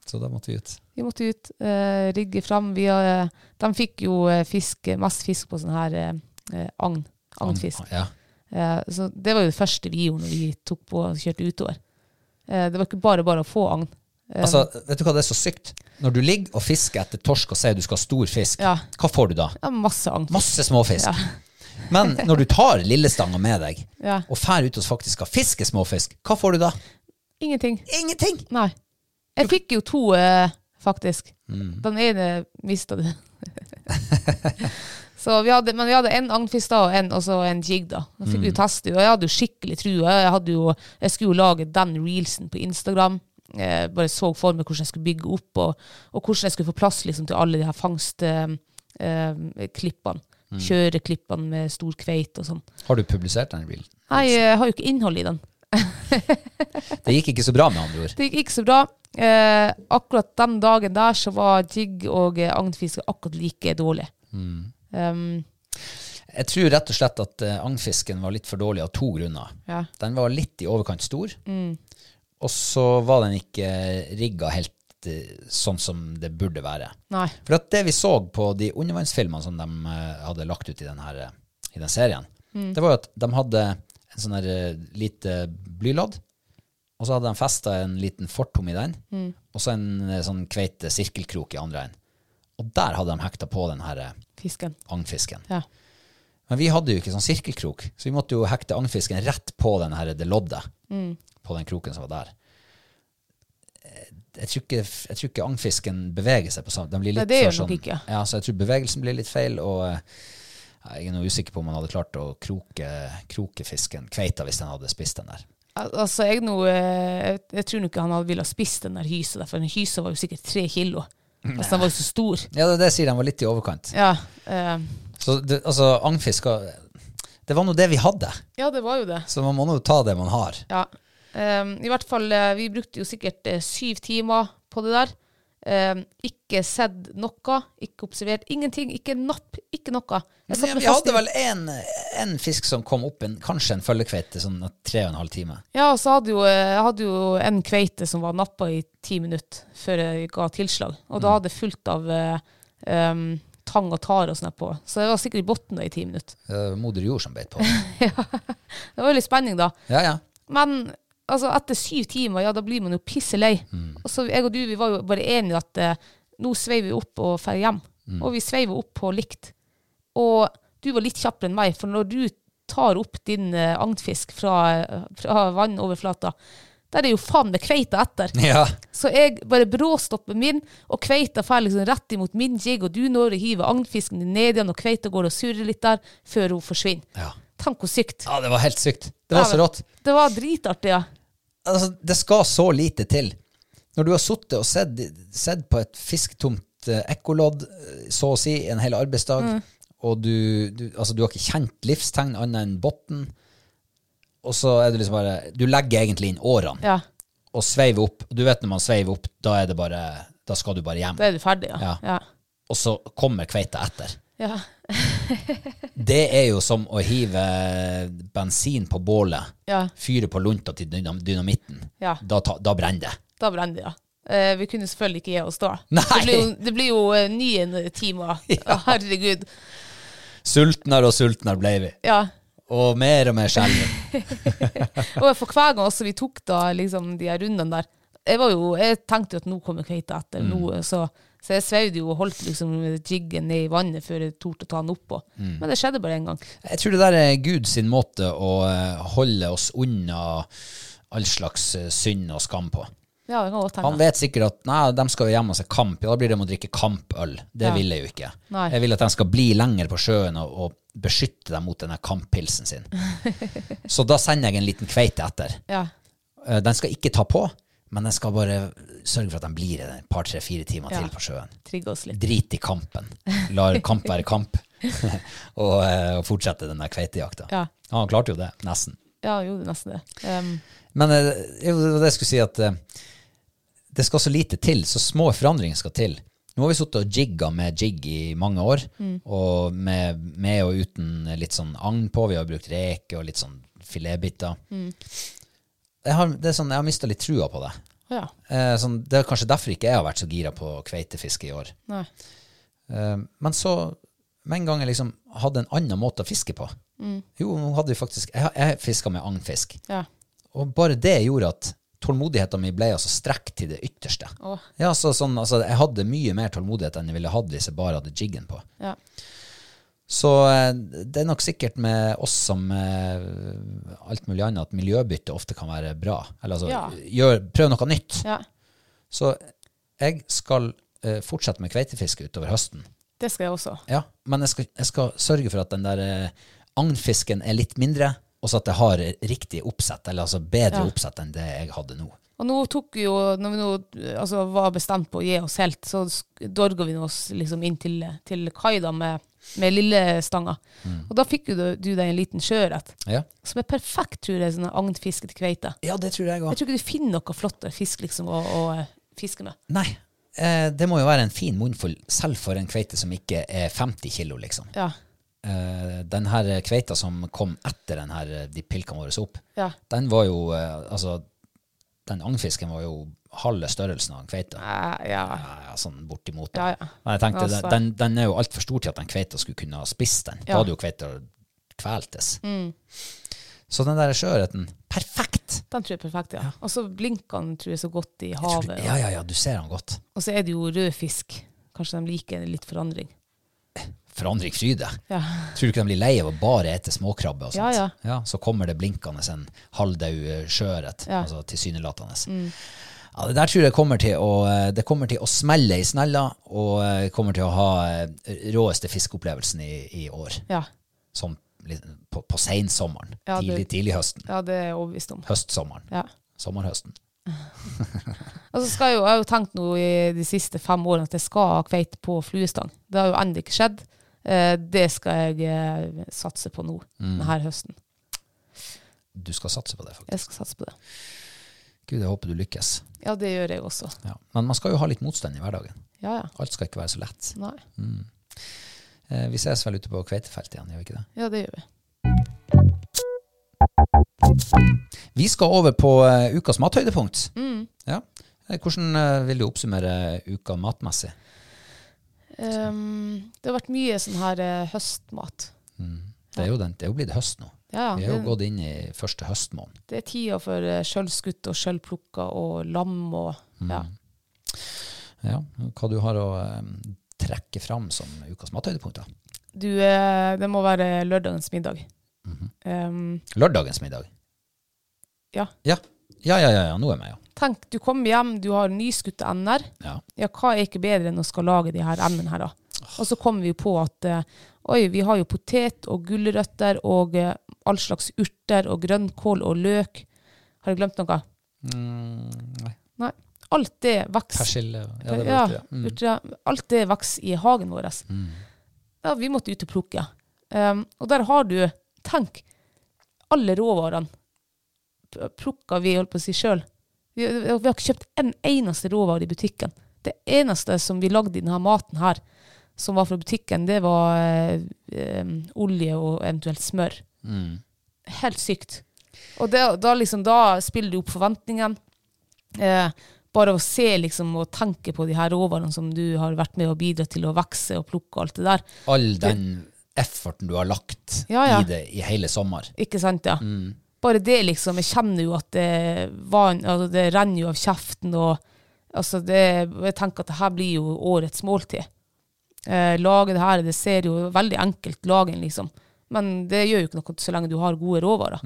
Speaker 1: Så da måtte vi ut.
Speaker 2: Vi måtte ut, eh, rigge fram. Vi, har, de fikk jo eh, fisk, masse fisk på sånn her eh, eh, agn. Agnfisk.
Speaker 1: Ja.
Speaker 2: Eh, så det var jo det første vi gjorde når vi tok på og kjørte utover. Eh, det var ikke bare bare å få agn. Eh,
Speaker 1: Altså, vet du hva, det er så sykt. Når du ligger og fisker etter torsk og sier du skal ha stor fisk,
Speaker 2: Ja.
Speaker 1: hva får du da?
Speaker 2: ja, masse agn.
Speaker 1: Masse småfisk. Men når du tar lillestanga med deg,
Speaker 2: Ja.
Speaker 1: og fær ut og faktisk skal fiske småfisk, hva får du da?
Speaker 2: Ingenting.
Speaker 1: Ingenting!
Speaker 2: Nei. Jeg fikk jo to, eh, faktisk. Den ene mista du. så vi hadde, men vi hadde en agnfisk da, og en, og så en jig, da. Da fikk vi jo teste, og jeg hadde jo skikkelig trua. Jeg, hadde jo, jeg skulle jo lage den reelsen på Instagram. Jeg bare så for meg hvordan jeg skulle bygge opp, og, og hvordan jeg skulle få plass liksom, til alle de her fangstklippene. Kjøreklippene med stor kveit og sånn.
Speaker 1: Har du publisert den reelen?
Speaker 2: Nei, jeg har jo ikke innhold i den.
Speaker 1: Det gikk ikke så bra, med andre ord.
Speaker 2: Det gikk ikke så bra. Eh, akkurat den dagen der så var jigg og eh, agnfiske akkurat like dårlig.
Speaker 1: Mm.
Speaker 2: Um,
Speaker 1: Jeg tror rett og slett at eh, agnfisken var litt for dårlig av to grunner.
Speaker 2: Ja.
Speaker 1: Den var litt i overkant stor, og så var den ikke rigga helt eh, sånn som det burde være.
Speaker 2: nei.
Speaker 1: For at det vi så på de undervannsfilmene som de eh, hadde lagt ut i den, her, eh, i den serien, det var jo at de hadde en sånn her eh, lite blylodd, og så hadde de festa en liten fortom i den, og så en eh, sånn kveite sirkelkrok i andre enden. Og der hadde de hekta på den her eh,
Speaker 2: Fisken.
Speaker 1: agnfisken.
Speaker 2: Ja.
Speaker 1: Men vi hadde jo ikke sånn sirkelkrok, så vi måtte jo hekte agnfisken rett på den her, det loddet.
Speaker 2: Mm.
Speaker 1: På den kroken som var der. Eh, Jeg tror ikke, jeg tror ikke agnfisken beveger seg på samme De blir
Speaker 2: Nei,
Speaker 1: litt
Speaker 2: det gjør
Speaker 1: for sånn,
Speaker 2: nok ikke.
Speaker 1: Ja, så jeg tror bevegelsen blir litt feil, og eh, jeg er nå usikker på om han hadde klart å kroke, kroke fisken, kveita, hvis han hadde spist den der.
Speaker 2: Al- Altså, jeg, nå, eh, jeg, jeg tror nå ikke han hadde ville ha spist den der hysa, der, for den hysa var jo sikkert tre kilo. Altså, den var jo så stor.
Speaker 1: Ja, det, er det jeg sier de var litt i overkant.
Speaker 2: Ja, eh,
Speaker 1: Så det, altså, agnfisk var- Det var nå det vi hadde,
Speaker 2: ja, det var jo det.
Speaker 1: så man må nå ta det man har.
Speaker 2: Ja. Ehm, I hvert fall, eh, vi brukte jo sikkert eh, syv timer på det der. Ehm, ikke sett noe, ikke observert ingenting, ikke napp, ikke noe. Jeg satt
Speaker 1: Ja,
Speaker 2: med
Speaker 1: vi
Speaker 2: fast-
Speaker 1: hadde vel en, en fisk som kom opp, en, kanskje en følgekveite, sånn tre og en halv time.
Speaker 2: Ja, og så hadde jo, eh, jeg hadde jo en kveite som var nappa i ti minutter før jeg ga tilslag. Og da hadde jeg fullt av eh, ehm, tang og tare og sånn her på. Så jeg var sikkert i bunnen i ti minutter.
Speaker 1: Det var moder jord som beit på. den.
Speaker 2: Det var jo litt spenning, da.
Speaker 1: Ja, ja.
Speaker 2: Men altså, etter syv timer, ja, da blir man jo pisselei.
Speaker 1: Mm.
Speaker 2: Og så jeg og du, vi var jo bare enige at eh, nå svei vi opp og drar hjem.
Speaker 1: Mm.
Speaker 2: Og vi sveiv opp på likt. Og du var litt kjappere enn meg, for når du tar opp din eh, agnfisk fra, eh, fra vannoverflata, der er jo faen meg kveita etter.
Speaker 1: ja.
Speaker 2: Så jeg bare bråstopper min, og kveita fer liksom rett imot min jig, og du når å hive agnfisken din ned igjen, og kveita går og surrer litt der, før hun forsvinner.
Speaker 1: Ja.
Speaker 2: Tenk hvor sykt.
Speaker 1: ja, det var helt sykt. Det var så rått.
Speaker 2: Det var dritartig, ja.
Speaker 1: Altså, det skal så lite til. Når du har sittet og sett, sett på et fisketomt eh, ekkolodd, eh, så å si, en hel arbeidsdag,
Speaker 2: Mm.
Speaker 1: og du, du, altså, du har ikke kjent livstegn annet enn bunnen, og så er du liksom bare Du legger egentlig inn årene
Speaker 2: ja.
Speaker 1: og sveiver opp. Du vet når man sveiver opp, da er det bare Da skal du bare hjem.
Speaker 2: Da er du ferdig, ja.
Speaker 1: Ja.
Speaker 2: Ja.
Speaker 1: Og så kommer kveita etter.
Speaker 2: Ja.
Speaker 1: Det er jo som å hive bensin på bålet,
Speaker 2: Ja.
Speaker 1: fyre på lunta til dynam dynamitten.
Speaker 2: Ja.
Speaker 1: Da, ta, da brenner det.
Speaker 2: Da brenner det, ja. Eh, vi kunne selvfølgelig ikke gi oss da.
Speaker 1: Nei.
Speaker 2: Det blir jo, det blir jo eh, nye timer. Å, Herregud.
Speaker 1: Sultnere og sultnere ble vi,
Speaker 2: Ja.
Speaker 1: og mer og mer skjelven.
Speaker 2: Og for hver gang også vi tok da liksom de her rundene der, jeg, var jo, jeg tenkte jo at nå kommer kveita etter,
Speaker 1: Mm.
Speaker 2: nå, så, så jeg sveivde jo og holdt liksom jiggen ned i vannet før jeg torde å ta den oppå.
Speaker 1: Mm.
Speaker 2: Men det skjedde bare én gang.
Speaker 1: Jeg tror det der er Gud sin måte å eh, holde oss unna all slags eh, synd og skam på.
Speaker 2: Ja, det kan jeg godt
Speaker 1: Han
Speaker 2: tenke.
Speaker 1: vet sikkert at nei, de skal jo hjemme og se kamp, ja, da blir det med å drikke kampøl. Det
Speaker 2: Ja.
Speaker 1: vil jeg jo ikke.
Speaker 2: Nei.
Speaker 1: Jeg vil at de skal bli lenger på sjøen og, og beskytte dem mot denne kamppilsen sin. Så da sender jeg en liten kveite etter.
Speaker 2: Ja.
Speaker 1: Eh, Den skal ikke ta på, men den skal bare sørge for at den blir et par, tre, fire timer
Speaker 2: Ja.
Speaker 1: til på sjøen.
Speaker 2: Trigge oss litt.
Speaker 1: Drit i kampen. La kamp være kamp, og, eh, og fortsette den der kveitejakta.
Speaker 2: Ja.
Speaker 1: Han klarte jo det, nesten.
Speaker 2: Ja, jo, det er nesten det. Ehm,
Speaker 1: Men eh, jo, det var det jeg skulle si, at eh, det skal så lite til. Så små forandringer skal til. Nå har vi sittet og jigga med jig i mange år, og med, med og uten litt sånn agn på. Vi har brukt reker og litt sånn filetbiter. Jeg har, det er sånn, jeg har mista litt trua på det.
Speaker 2: ja.
Speaker 1: Eh, sånn, det er kanskje derfor ikke jeg har vært så gira på kveitefiske i år.
Speaker 2: Nei.
Speaker 1: Eh, men så, med en gang jeg liksom hadde en annen måte å fiske på Jo, nå hadde vi faktisk Jeg, jeg fiska med agnfisk.
Speaker 2: Ja.
Speaker 1: Og bare det gjorde at tålmodigheten min ble altså strekt til det ytterste.
Speaker 2: Åh.
Speaker 1: Ja, så sånn, altså, jeg hadde mye mer tålmodighet enn jeg ville hatt hvis jeg bare hadde jiggen på.
Speaker 2: Ja.
Speaker 1: Så eh, det er nok sikkert med oss som eh, alt mulig annet, at miljøbytte ofte kan være bra. Eller altså,
Speaker 2: Ja.
Speaker 1: gjør, prøv noe nytt.
Speaker 2: ja.
Speaker 1: Så jeg skal eh, fortsette med kveitefiske utover høsten.
Speaker 2: Det skal jeg også.
Speaker 1: Ja, men jeg skal, jeg skal sørge for at den der eh, agnfisken er litt mindre, og så at jeg har riktig oppsett, eller altså bedre
Speaker 2: Ja.
Speaker 1: oppsett enn det jeg hadde nå.
Speaker 2: Og nå tok vi jo, når vi nå altså, var bestemt på å gi oss helt, så sk- dorga vi oss liksom inn til, til kai da med, med lillestanga. Og da fikk jo du, du deg en liten sjøørret,
Speaker 1: Ja.
Speaker 2: som er perfekt, tror jeg, sånn agnfiske til kveite.
Speaker 1: det tror jeg
Speaker 2: Jeg
Speaker 1: òg.
Speaker 2: tror ikke du finner noe flottere fisk liksom å, å eh, fiske med.
Speaker 1: Nei, eh, det må jo være en fin munnfull, selv for en kveite som ikke er 50 kilo, liksom.
Speaker 2: Ja.
Speaker 1: Eh, den her kveita som kom etter den her, eh, de pilkene våre opp,
Speaker 2: Ja.
Speaker 1: den var jo eh, Altså, den agnfisken var jo halve størrelsen av en kveite.
Speaker 2: Eh, ja.
Speaker 1: Ja, sånn bortimot. da.
Speaker 2: Ja, ja.
Speaker 1: Men jeg tenkte,
Speaker 2: Altså.
Speaker 1: den, den er jo altfor stor til at den kveita skulle kunne ha spist den. Da
Speaker 2: Ja. Mm.
Speaker 1: hadde jo kveita kveltes. Så den der sjøørreten, perfekt!
Speaker 2: Den tror jeg er perfekt, ja. Og så blinker den tror jeg så godt i
Speaker 1: Jeg tror-
Speaker 2: havet.
Speaker 1: Ja, ja, ja, du ser den godt.
Speaker 2: Og så er det jo rød fisk. Kanskje de liker litt forandring.
Speaker 1: Forandring fryder.
Speaker 2: Ja.
Speaker 1: Tror du ikke de blir lei av å bare ete småkrabbe? og sånt?
Speaker 2: Ja,
Speaker 1: Så kommer det blinkende en halvdau sjøørret,
Speaker 2: Ja. Mm.
Speaker 1: altså tilsynelatende. Ja, det der tror jeg kommer til å, eh, det kommer til å smelle i snella, og eh, kommer til å ha eh, råeste fiskeopplevelsen i, i år.
Speaker 2: Ja,
Speaker 1: Som litt- på, på seinsommeren.
Speaker 2: Ja, det-
Speaker 1: tidlig, tidlig høsten.
Speaker 2: ja det er jeg overbevist om.
Speaker 1: Høstsommeren.
Speaker 2: Ja.
Speaker 1: Sommerhøsten.
Speaker 2: Og så skal jeg jo, jeg har jo tenkt nå i de siste fem årene at jeg skal ha kveite på fluestang. Det har jo ennå ikke skjedd. Eh, Det skal jeg eh, satse på nå, denne høsten.
Speaker 1: Du skal satse på det, faktisk.
Speaker 2: Jeg skal satse på det.
Speaker 1: Gud, jeg håper du lykkes.
Speaker 2: Ja, det gjør jeg også.
Speaker 1: Ja. Men man skal jo ha litt motstand i hverdagen.
Speaker 2: Ja, ja.
Speaker 1: Alt skal ikke være så lett.
Speaker 2: Nei.
Speaker 1: Eh, Vi ses vel ute på kveitefeltet igjen, gjør vi ikke det?
Speaker 2: Ja, det gjør vi.
Speaker 1: Vi skal over på eh, ukas mathøydepunkt.
Speaker 2: Mm.
Speaker 1: Ja. Eh, Hvordan eh, vil du oppsummere uka matmessig?
Speaker 2: Ehm, det har vært mye sånn her eh, høstmat.
Speaker 1: Det er jo, den, det er jo blitt høst nå.
Speaker 2: Ja,
Speaker 1: Vi
Speaker 2: ja.
Speaker 1: er jo
Speaker 2: Det,
Speaker 1: gått inn i første høstmåned.
Speaker 2: det er tida for eh, sjølskutt og sjølplukka og lam og ja.
Speaker 1: Ja. Hva du har å eh, trekke fram som ukas mathøydepunkt? da?
Speaker 2: Du, eh, det må være lørdagens middag. Ehm,
Speaker 1: Lørdagens middag.
Speaker 2: ja.
Speaker 1: Ja. Ja, ja, ja, ja. nå er jeg med, ja.
Speaker 2: Tenk, du kommer hjem, du har nyskutte ender.
Speaker 1: ja.
Speaker 2: Ja, hva er ikke bedre enn å skal lage de her endene her, da? Og så kommer vi jo på at eh, oi, vi har jo potet og gulrøtter og eh, all slags urter og grønnkål og løk. Har jeg glemt noe?
Speaker 1: nei.
Speaker 2: Nei. Alt det vokser
Speaker 1: Persille Ja, det
Speaker 2: Ja,
Speaker 1: var det. Mm.
Speaker 2: urter, alt det vokser i hagen vår. Ja, vi måtte ut og plukke. Um, og der har du Tenk, alle råvarene p- plukka vi holdt på å si sjøl. Vi, vi har ikke kjøpt en eneste råvare i butikken. Det eneste som vi lagde i denne maten her, som var fra butikken, det var eh, em, olje og eventuelt smør.
Speaker 1: Mm.
Speaker 2: Helt sykt. Og det, da, liksom, da spiller du opp forventningene. Eh, bare å se liksom, og tenke på de her råvarene som du har vært med og bidratt til å vokse og plukke og alt det der.
Speaker 1: All den efforten du har lagt
Speaker 2: Ja, ja.
Speaker 1: i det i hele sommer.
Speaker 2: Ikke sant, ja. Bare det, liksom. Jeg kjenner jo at det, vann, altså, det renner jo av kjeften. Og altså, det, jeg tenker at det her blir jo årets måltid. Eh, lage det her, det ser jo veldig enkelt lagen, liksom. Men det gjør jo ikke noe så lenge du har gode råvarer.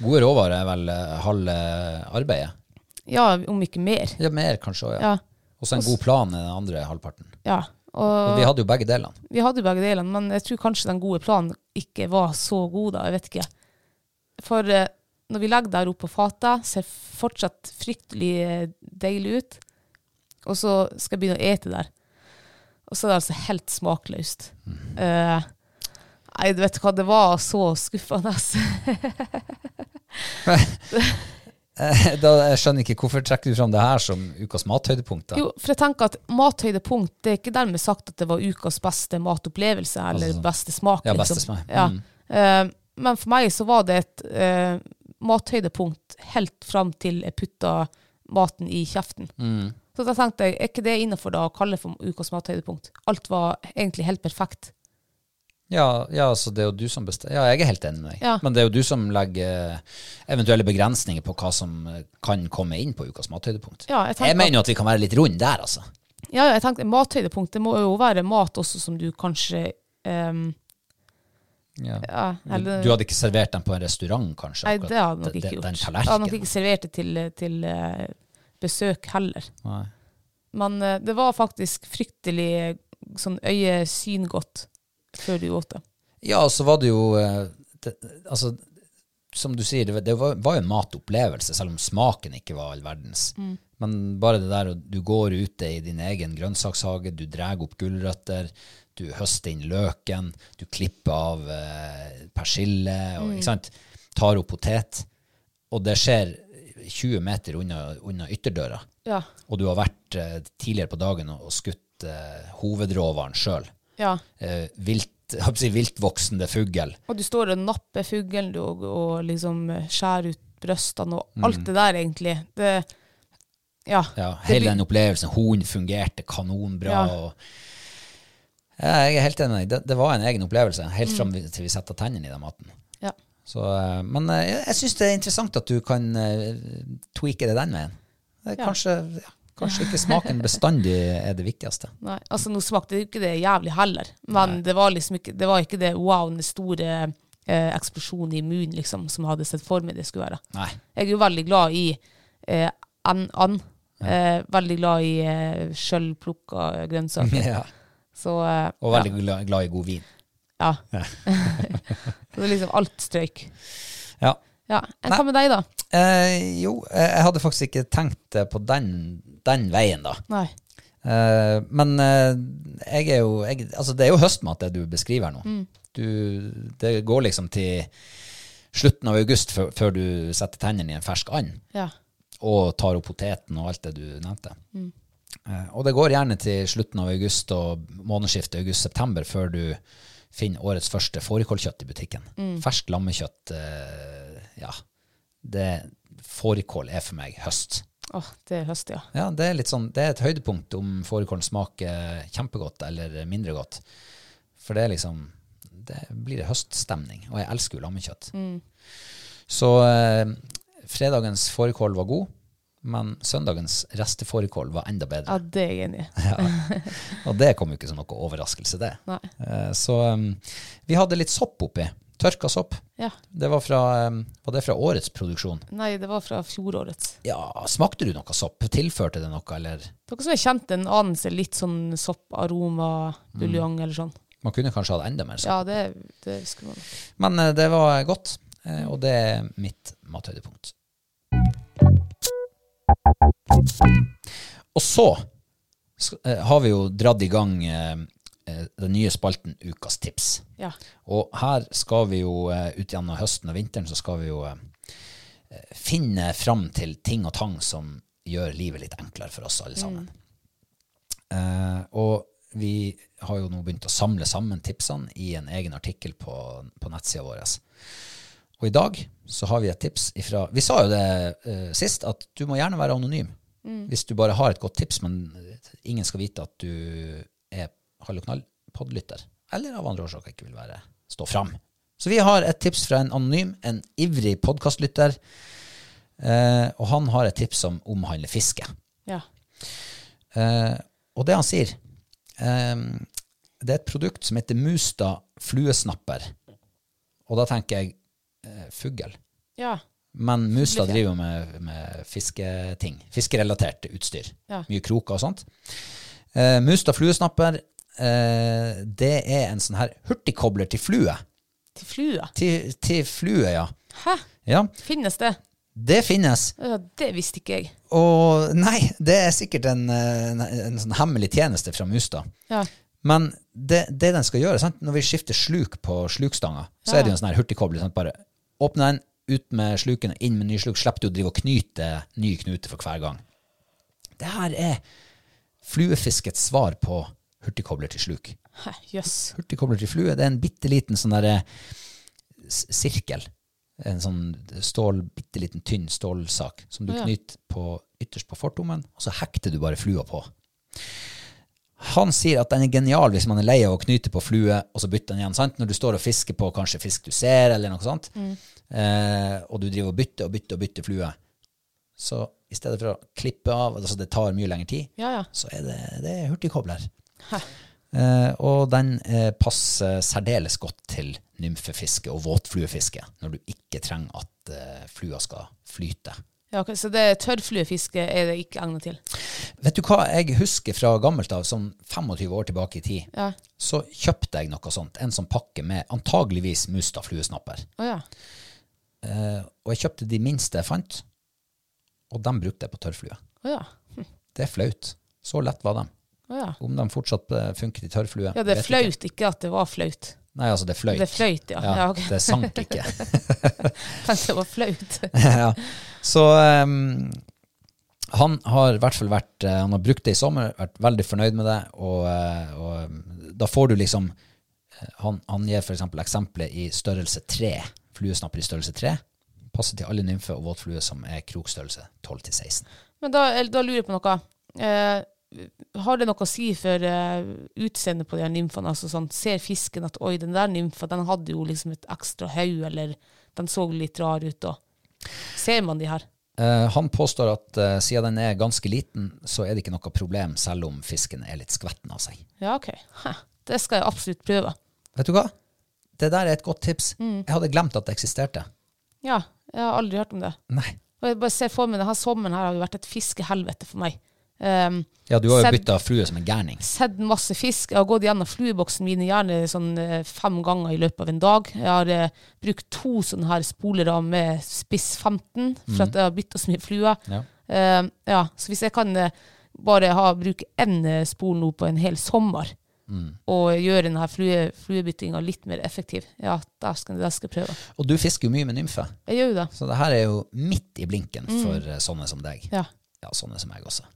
Speaker 1: Gode råvarer er vel eh, halve arbeidet.
Speaker 2: Ja, om ikke mer.
Speaker 1: Ja, mer kanskje også, ja.
Speaker 2: Ja.
Speaker 1: Og så en god plan er den andre halvparten.
Speaker 2: ja.
Speaker 1: Og
Speaker 2: Og
Speaker 1: vi hadde jo begge delene.
Speaker 2: vi hadde jo begge delene, men jeg tror kanskje den gode planen ikke var så god, da. Jeg vet ikke. For eh, når vi legger det her opp på fatet, ser fortsatt fryktelig eh, deilig ut. Og så skal jeg begynne å ete der. Og så er det altså helt smakløst. Eh, nei, du vet hva, det var så skuffende.
Speaker 1: Eh, Da, jeg skjønner ikke hvorfor trekker du fram det her som ukas mathøydepunkt. da?
Speaker 2: Jo, for jeg tenker at mathøydepunkt, det er ikke dermed sagt at det var ukas beste matopplevelse, eller
Speaker 1: Altså sånn.
Speaker 2: beste smak. liksom.
Speaker 1: Ja, beste smak.
Speaker 2: Ja.
Speaker 1: Mm.
Speaker 2: Eh, men for meg så var det et eh, mathøydepunkt helt fram til jeg putta maten i kjeften.
Speaker 1: Mm.
Speaker 2: Så da tenkte jeg, er ikke det innafor da å kalle for ukas mathøydepunkt? Alt var egentlig helt perfekt.
Speaker 1: Ja, ja, så det er jo du som bestemmer. Ja, jeg er helt enig med deg.
Speaker 2: Ja.
Speaker 1: Men det er jo du som legger eh, eventuelle begrensninger på hva som eh, kan komme inn på ukas mathøydepunkt.
Speaker 2: Ja, jeg tenker
Speaker 1: jeg mener jo at vi kan være litt runde der, altså.
Speaker 2: Ja, ja, jeg tenkte mathøydepunkt, det må jo være mat også som du kanskje ehm,
Speaker 1: Ja.
Speaker 2: ja, eller,
Speaker 1: Du hadde ikke servert dem på en restaurant, kanskje?
Speaker 2: Nei,
Speaker 1: akkurat
Speaker 2: det hadde jeg nok
Speaker 1: den-
Speaker 2: ikke gjort.
Speaker 1: Den
Speaker 2: Jeg hadde nok
Speaker 1: tallerkenen.
Speaker 2: ikke servert det til, til eh, besøk heller.
Speaker 1: Nei.
Speaker 2: Men eh, det var faktisk fryktelig eh, sånn øyesyngodt før du åt det.
Speaker 1: Ja, og så var det jo eh, det, Altså, som du sier, det, var- det var, var jo en matopplevelse, selv om smaken ikke var all verdens. Men bare det der å du går ute i din egen grønnsakshage, du drar opp gulrøtter, du høster inn løken, du klipper av eh, persille, og, ikke sant? tar opp potet, og det skjer 20 meter unna, unna ytterdøra,
Speaker 2: Ja.
Speaker 1: og du har vært eh, tidligere på dagen og, og skutt eh, hovedråvaren sjøl
Speaker 2: ja.
Speaker 1: eh, vilt, jeg håper å si, viltvoksende fugl.
Speaker 2: Og du står og napper fuglen du, og, og liksom eh, skjærer ut brystene og alt det der, egentlig. Det, ja.
Speaker 1: Mm. Ja,
Speaker 2: det
Speaker 1: hele
Speaker 2: blir-
Speaker 1: den opplevelsen. Horn fungerte kanonbra.
Speaker 2: Ja.
Speaker 1: Og, ja, jeg er helt enig. Det, det var en egen opplevelse
Speaker 2: Mm.
Speaker 1: helt fram vi- til vi setter tennene i den maten.
Speaker 2: Ja.
Speaker 1: Så, eh, men eh, jeg syns det er interessant at du kan eh, tweake det den veien. Det er
Speaker 2: Ja.
Speaker 1: Kanskje ja, Kanskje ikke smaken bestandig er det viktigste.
Speaker 2: Nei, altså Nå smakte jo ikke det jævlig heller, men det var liksom ikke det, var ikke det wow, den store eh, eksplosjonen i munnen liksom, som jeg hadde sett for meg det skulle være.
Speaker 1: Nei.
Speaker 2: Jeg er jo veldig glad i eh, and. and. Eh, veldig glad i eh, sjølplukka grønnsaker.
Speaker 1: Ja.
Speaker 2: Så, eh,
Speaker 1: Og veldig gla- glad i god vin.
Speaker 2: Ja. ja. Så det er liksom alt strøyk.
Speaker 1: Ja.
Speaker 2: Ja.
Speaker 1: Nei.
Speaker 2: Enn hva med deg, da?
Speaker 1: Eh, jo, eh, jeg hadde faktisk ikke tenkt eh, på den, den veien, da.
Speaker 2: Nei.
Speaker 1: Eh, men eh, jeg er jo jeg, Altså, det er jo høstmat, det du beskriver nå. Du, det går liksom til slutten av august før, før du setter tennene i en fersk and
Speaker 2: Ja.
Speaker 1: og tar opp poteten og alt det du nevnte. Eh, og det går gjerne til slutten av august og månedsskiftet august-september før du finner årets første fårikålkjøtt i butikken. Fersk lammekjøtt, eh, ja. Det, fårikål er for meg høst.
Speaker 2: Åh, det er høst, ja.
Speaker 1: Ja, det er litt sånn, det er et høydepunkt om fårikålen smaker kjempegodt eller mindre godt. For det er liksom Det blir høststemning, og jeg elsker jo lammekjøtt. Så eh, fredagens fårikål var god, men søndagens restefårikål var enda bedre.
Speaker 2: Ja, det er jeg enig i.
Speaker 1: Og det kom jo ikke som noe overraskelse, det.
Speaker 2: Nei.
Speaker 1: Eh, så eh, vi hadde litt sopp oppi. Tørka sopp.
Speaker 2: Ja.
Speaker 1: Det var, fra, eh, var det fra årets produksjon?
Speaker 2: Nei, det var fra fjorårets.
Speaker 1: Ja, smakte du noe sopp? Tilførte det noe, eller?
Speaker 2: Dere som har kjent en anelse litt sånn sopparoma, buljong eller sånn.
Speaker 1: Man kunne kanskje hatt enda mer sopp.
Speaker 2: Ja, det, det skulle man.
Speaker 1: Men eh, det var godt, eh, og det er mitt mathøydepunkt. Og så sk- eh, har vi jo dratt i gang eh, eh, den nye spalten Ukas tips.
Speaker 2: Ja.
Speaker 1: Og her skal vi jo eh, ut gjennom høsten og vinteren så skal vi jo eh, finne fram til ting og tang som gjør livet litt enklere for oss alle sammen. Eh, og vi har jo nå begynt å samle sammen tipsene i en egen artikkel på, på nettsida vår. Og i dag så har vi et tips ifra Vi sa jo det eh, sist, at du må gjerne være anonym. Hvis du bare har et godt tips, men eh, ingen skal vite at du er Halloknall-podlytter, eller av andre årsaker ikke vil være, stå fram. Så vi har et tips fra en anonym, en ivrig podkastlytter, eh, og han har et tips som omhandler fiske.
Speaker 2: Ja.
Speaker 1: Eh, og det han sier eh, Det er et produkt som heter Mustad fluesnapper. Og da tenker jeg eh, fugl.
Speaker 2: Ja.
Speaker 1: Men Mustad driver jo med, med fisketing. Fiskerelatert utstyr.
Speaker 2: Ja.
Speaker 1: Mye kroker og sånt. Eh, Mustad fluesnapper, eh, det er en sånn her hurtigkobler til flue.
Speaker 2: Til flua.
Speaker 1: Til, til flue, ja.
Speaker 2: Hæ?
Speaker 1: ja.
Speaker 2: Finnes det?
Speaker 1: Det finnes.
Speaker 2: Ja, det visste ikke jeg.
Speaker 1: Og nei, det er sikkert en, eh, en, en sånn hemmelig tjeneste fra Mustad.
Speaker 2: Ja.
Speaker 1: Men det, det den skal gjøre, sant? når vi skifter sluk på slukstanga, så er det jo en sånn her hurtigkobler. Sant? Bare åpne den, ut med sluken, og inn med ny sluk. Slipper du å drive og knyte ny knute for hver gang. Det her er fluefiskets svar på hurtigkobler til sluk.
Speaker 2: Hæ, Jøss.
Speaker 1: Hurtigkobler til flue, det er en bitte liten sånn derre s- sirkel. En sånn stål, bitte liten tynn stålsak som du
Speaker 2: Ja.
Speaker 1: knyter på, ytterst på fortommen, og så hekter du bare flua på. Han sier at den er genial hvis man er lei av å knyte på flue, og så bytte den igjen. sant? Når du står og fisker på kanskje fisk du ser, eller noe sånt, eh, og du driver og bytter og bytter og bytter flue, så i stedet for å klippe av, altså det tar mye lengre tid,
Speaker 2: Ja, ja.
Speaker 1: så er det, det er hurtigkobler. Eh, og den eh, passer særdeles godt til nymfefiske og våtfluefiske, når du ikke trenger at eh, flua skal flyte.
Speaker 2: ja ok, så det tørrfluefiske er det ikke egnet til?
Speaker 1: Vet du hva jeg husker fra gammelt av, sånn 25 år tilbake i tid?
Speaker 2: Ja.
Speaker 1: Så kjøpte jeg noe sånt, en sånn pakke med antageligvis Mustad fluesnapper.
Speaker 2: Å ja.
Speaker 1: Og jeg kjøpte de minste jeg fant, og dem brukte jeg på tørrflue.
Speaker 2: Å ja.
Speaker 1: Det er flaut. Så lett var de.
Speaker 2: Å ja.
Speaker 1: Om de fortsatt eh, funket i tørrflue
Speaker 2: Ja, det er
Speaker 1: vet jeg ikke.
Speaker 2: flaut, ikke at det var flaut.
Speaker 1: Nei, altså, det er fløyt.
Speaker 2: Det er fløyt, ja.
Speaker 1: ja,
Speaker 2: Ja, ok.
Speaker 1: Det sank ikke.
Speaker 2: Tenkte det var flaut.
Speaker 1: ja. Så ehm, han har i hvert fall vært eh, Han har brukt det i sommer, vært veldig fornøyd med det, og, eh, og eh, da får du liksom eh, Han, han gir f.eks. eksempelet i størrelse tre. Fluesnapper i størrelse tre. Passer til alle nymfer og våtflue som er krokstørrelse 12 til 16.
Speaker 2: Men da, eller da lurer jeg på noe. Eh, har det noe å si for eh, utseendet på de her nymfene? Altså sånn, ser fisken at oi, den der nymfa den hadde jo liksom et ekstra hode, eller den så litt rar ut, og ser man de her?
Speaker 1: Eh, han påstår at eh, siden den er ganske liten, så er det ikke noe problem selv om fisken er litt skvetten av seg.
Speaker 2: Ja, OK. Hæ. Det skal jeg absolutt prøve.
Speaker 1: Vet du hva? Det der er et godt tips.
Speaker 2: Mm.
Speaker 1: Jeg hadde glemt at det eksisterte.
Speaker 2: Ja, jeg har aldri hørt om det.
Speaker 1: Nei.
Speaker 2: Og jeg bare ser for meg, Denne sommeren her har jo vært et fiskehelvete for meg. Um,
Speaker 1: Ja, du har jo
Speaker 2: Sed-
Speaker 1: bytta flue som en gærning.
Speaker 2: sett masse fisk. Jeg har gått gjennom flueboksen min gjerne sånn eh, fem ganger i løpet av en dag. Jeg har eh, brukt to sånne her spolere med spiss 15, for at jeg har bytta så mye fluer.
Speaker 1: Ja.
Speaker 2: Eh, ja, så hvis jeg kan eh, bare ha, bruke én eh, spol nå på en hel sommer, og gjøre denne flue, fluebyttinga litt mer effektiv, ja, der skal, der skal jeg prøve.
Speaker 1: Og du fisker jo mye med nymfe,
Speaker 2: Jeg gjør jo det.
Speaker 1: så det her er jo midt i blinken for eh, sånne som deg.
Speaker 2: Mm. Ja.
Speaker 1: Ja, sånne som meg også.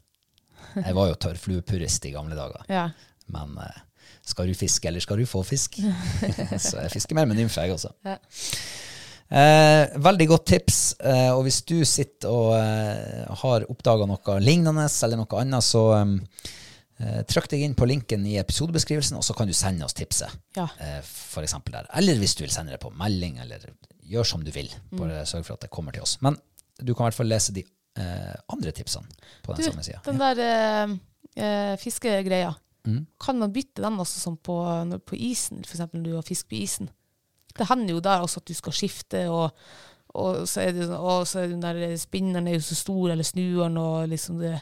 Speaker 1: Jeg var jo tørrfluepurist i gamle dager.
Speaker 2: ja.
Speaker 1: Men eh, skal du fiske, eller skal du få fisk? så jeg fisker mer med nymfe, jeg også.
Speaker 2: Ja.
Speaker 1: Eh, veldig godt tips. Eh, og hvis du sitter og eh, har oppdaga noe lignende eller noe annet, så eh, trykk deg inn på linken i episodebeskrivelsen, og så kan du sende oss tipset.
Speaker 2: Ja.
Speaker 1: Eh, for eksempel der. Eller hvis du vil sende det på melding, eller gjør som du vil.
Speaker 2: Mm.
Speaker 1: Bare sørg for at det kommer til oss. Men du kan i hvert fall lese de eh, andre tipsene på den
Speaker 2: Du,
Speaker 1: samme sida.
Speaker 2: den der eh, eh, fiskegreia, kan man bytte den også som på, når- på isen, for eksempel når du har fisk på isen? Det hender jo der også at du skal skifte, og, og så er det sånn, å, så er den der spinneren er jo så stor, eller snueren, og liksom det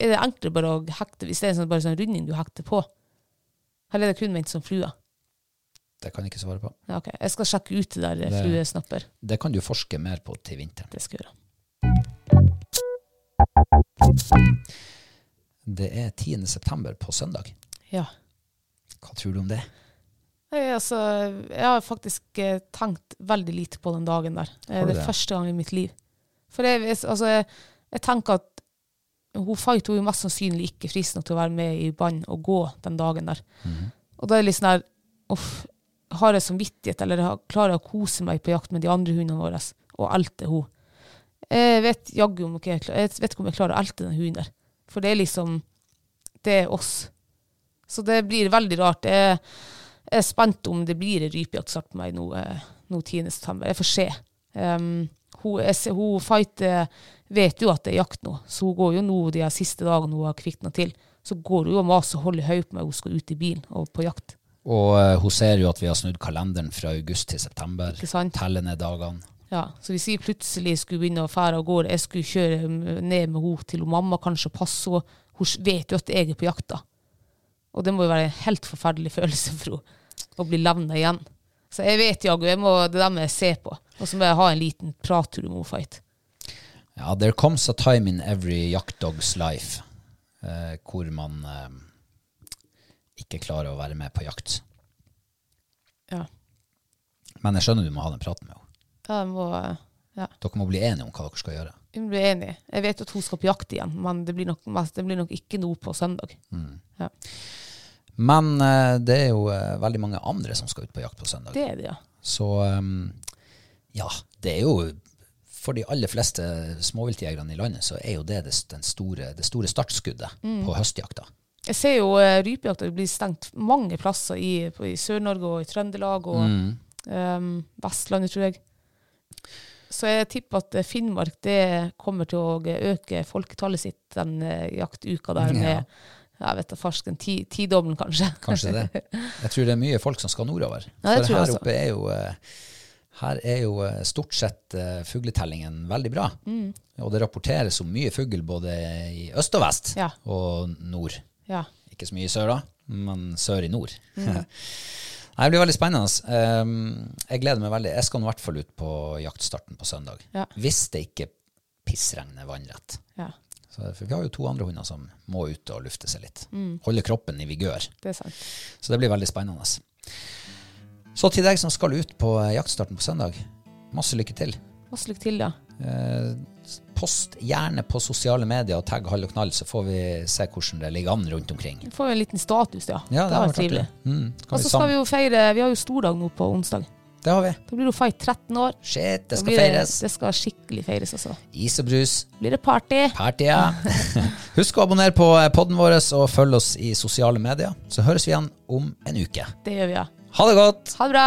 Speaker 2: Er det enklere bare å hekte hvis det er sånn, bare sånn runding du hekter på? Eller er det kun ment som flua?
Speaker 1: Det kan jeg ikke svare på.
Speaker 2: Ja, ok. Jeg skal sjekke ut det der
Speaker 1: Det-
Speaker 2: fluesnapper.
Speaker 1: Det kan du forske mer på til vinteren.
Speaker 2: Det skal jeg gjøre.
Speaker 1: Det er 10. september på søndag.
Speaker 2: Ja.
Speaker 1: Hva tror du om det?
Speaker 2: Nei, altså, jeg har faktisk eh, tenkt veldig lite på den dagen der. Eh,
Speaker 1: Har du
Speaker 2: det
Speaker 1: det?
Speaker 2: er første gang i mitt liv. For jeg, jeg- altså, jeg, jeg tenker at hun Fight hun er mest sannsynlig ikke frisk nok til å være med i band og gå den dagen der.
Speaker 1: Mhm.
Speaker 2: Og da er det litt sånn her Uff, har jeg samvittighet, eller har- klarer jeg å kose meg på jakt med de andre hundene våre og elte hun? Jeg vet jaggu om ikke jeg, klar- jeg vet ikke om jeg klarer å elte den hunden der. For det er liksom Det er oss. Så det blir veldig rart. Jeg jeg er spent om det blir en rypejaktstart på meg nå, eh, nå 10. september. Jeg får se. Um, hun, jeg, ser- hun Fight eh, vet jo at det er jakt nå, så hun går jo nå de her siste dagene hun har kvikna til. Så går hun jo og maser og holder høy på meg hun skal ut i bilen og på jakt.
Speaker 1: Og eh, hun ser jo at vi har snudd kalenderen fra august til september.
Speaker 2: Ikke sant?
Speaker 1: Teller ned dagene.
Speaker 2: Ja, Så hvis vi plutselig skulle begynne å fære av gårde, jeg skulle kjøre mm, ned med henne til hun mamma, kanskje passe henne Hun vet jo at jeg er på jakta. Og det må jo være en helt forferdelig følelse for henne å bli levna igjen. Så jeg vet jaggu, jeg må- det der må jeg se på. Og så må jeg ha en liten prattur om hun fight.
Speaker 1: Ja, there comes a time in every jaktdogs life eh, hvor man eh, ikke klarer å være med på jakt.
Speaker 2: Ja.
Speaker 1: Men jeg skjønner du må ha den praten med henne.
Speaker 2: Ja, jeg må ja.
Speaker 1: Dere må bli enige om hva dere skal gjøre.
Speaker 2: Vi blir enige. Jeg vet at hun skal på jakt igjen, men det blir nok, mest- det blir nok ikke noe på søndag. Ja.
Speaker 1: Men eh, det er jo eh, veldig mange andre som skal ut på jakt på søndag.
Speaker 2: Det er det, ja.
Speaker 1: Så um, ja, det er jo for de aller fleste småviltjegerne i landet så er jo det det, s- den store, det store startskuddet
Speaker 2: Mm.
Speaker 1: på høstjakta.
Speaker 2: Jeg ser jo eh, rypejakta blir stengt mange plasser i, på- i Sør-Norge og i Trøndelag og
Speaker 1: Mm.
Speaker 2: eh, Vestlandet, tror jeg. Så jeg tipper at eh, Finnmark det kommer til å øke folketallet sitt den eh, jaktuka der med jeg vet da farsken, ti, tidoblen kanskje.
Speaker 1: Kanskje det. Jeg tror det er mye folk som skal nordover.
Speaker 2: Ja, det
Speaker 1: for
Speaker 2: tror jeg
Speaker 1: her
Speaker 2: også.
Speaker 1: oppe er jo, eh, her er jo eh, stort sett eh, fugletellingen veldig bra.
Speaker 2: Mm.
Speaker 1: Og det rapporteres om mye fugl både i øst og vest
Speaker 2: Ja.
Speaker 1: og nord.
Speaker 2: ja.
Speaker 1: Ikke så mye i sør, da, men sør i nord.
Speaker 2: Mm.
Speaker 1: Nei, det blir veldig spennende. ass. Um, jeg gleder meg veldig. Jeg skal nå i hvert fall ut på jaktstarten på søndag.
Speaker 2: Ja.
Speaker 1: Hvis det ikke pissregner vannrett.
Speaker 2: ja,
Speaker 1: Så, for vi har jo to andre hunder som må ut og lufte seg litt.
Speaker 2: Mm.
Speaker 1: Holde kroppen i vigør.
Speaker 2: det er sant.
Speaker 1: Så det blir veldig spennende. ass. Så til deg som skal ut på eh, jaktstarten på søndag, masse lykke til.
Speaker 2: Masse lykke til, ja.
Speaker 1: Eh, post gjerne på sosiale medier og tagg Hall og Knall, så får vi se hvordan det ligger an rundt omkring.
Speaker 2: Får vi en liten status, ja.
Speaker 1: Ja, det,
Speaker 2: var
Speaker 1: har vært artig.
Speaker 2: trivelig.
Speaker 1: Mm, kan
Speaker 2: Og
Speaker 1: vi
Speaker 2: så
Speaker 1: sammen-
Speaker 2: skal vi jo feire Vi har jo stordag nå på onsdag.
Speaker 1: Det har vi.
Speaker 2: Da blir det jo fight 13 år.
Speaker 1: Shit, det
Speaker 2: Da
Speaker 1: skal
Speaker 2: blir
Speaker 1: feires.
Speaker 2: Det skal skikkelig feires, altså.
Speaker 1: Is og brus.
Speaker 2: Blir det party?
Speaker 1: Partya. Husk å abonnere på eh, podden vår og følg oss i sosiale medier. Så høres vi igjen om en uke.
Speaker 2: Det gjør vi, ja.
Speaker 1: Ha det godt!
Speaker 2: Ha det bra!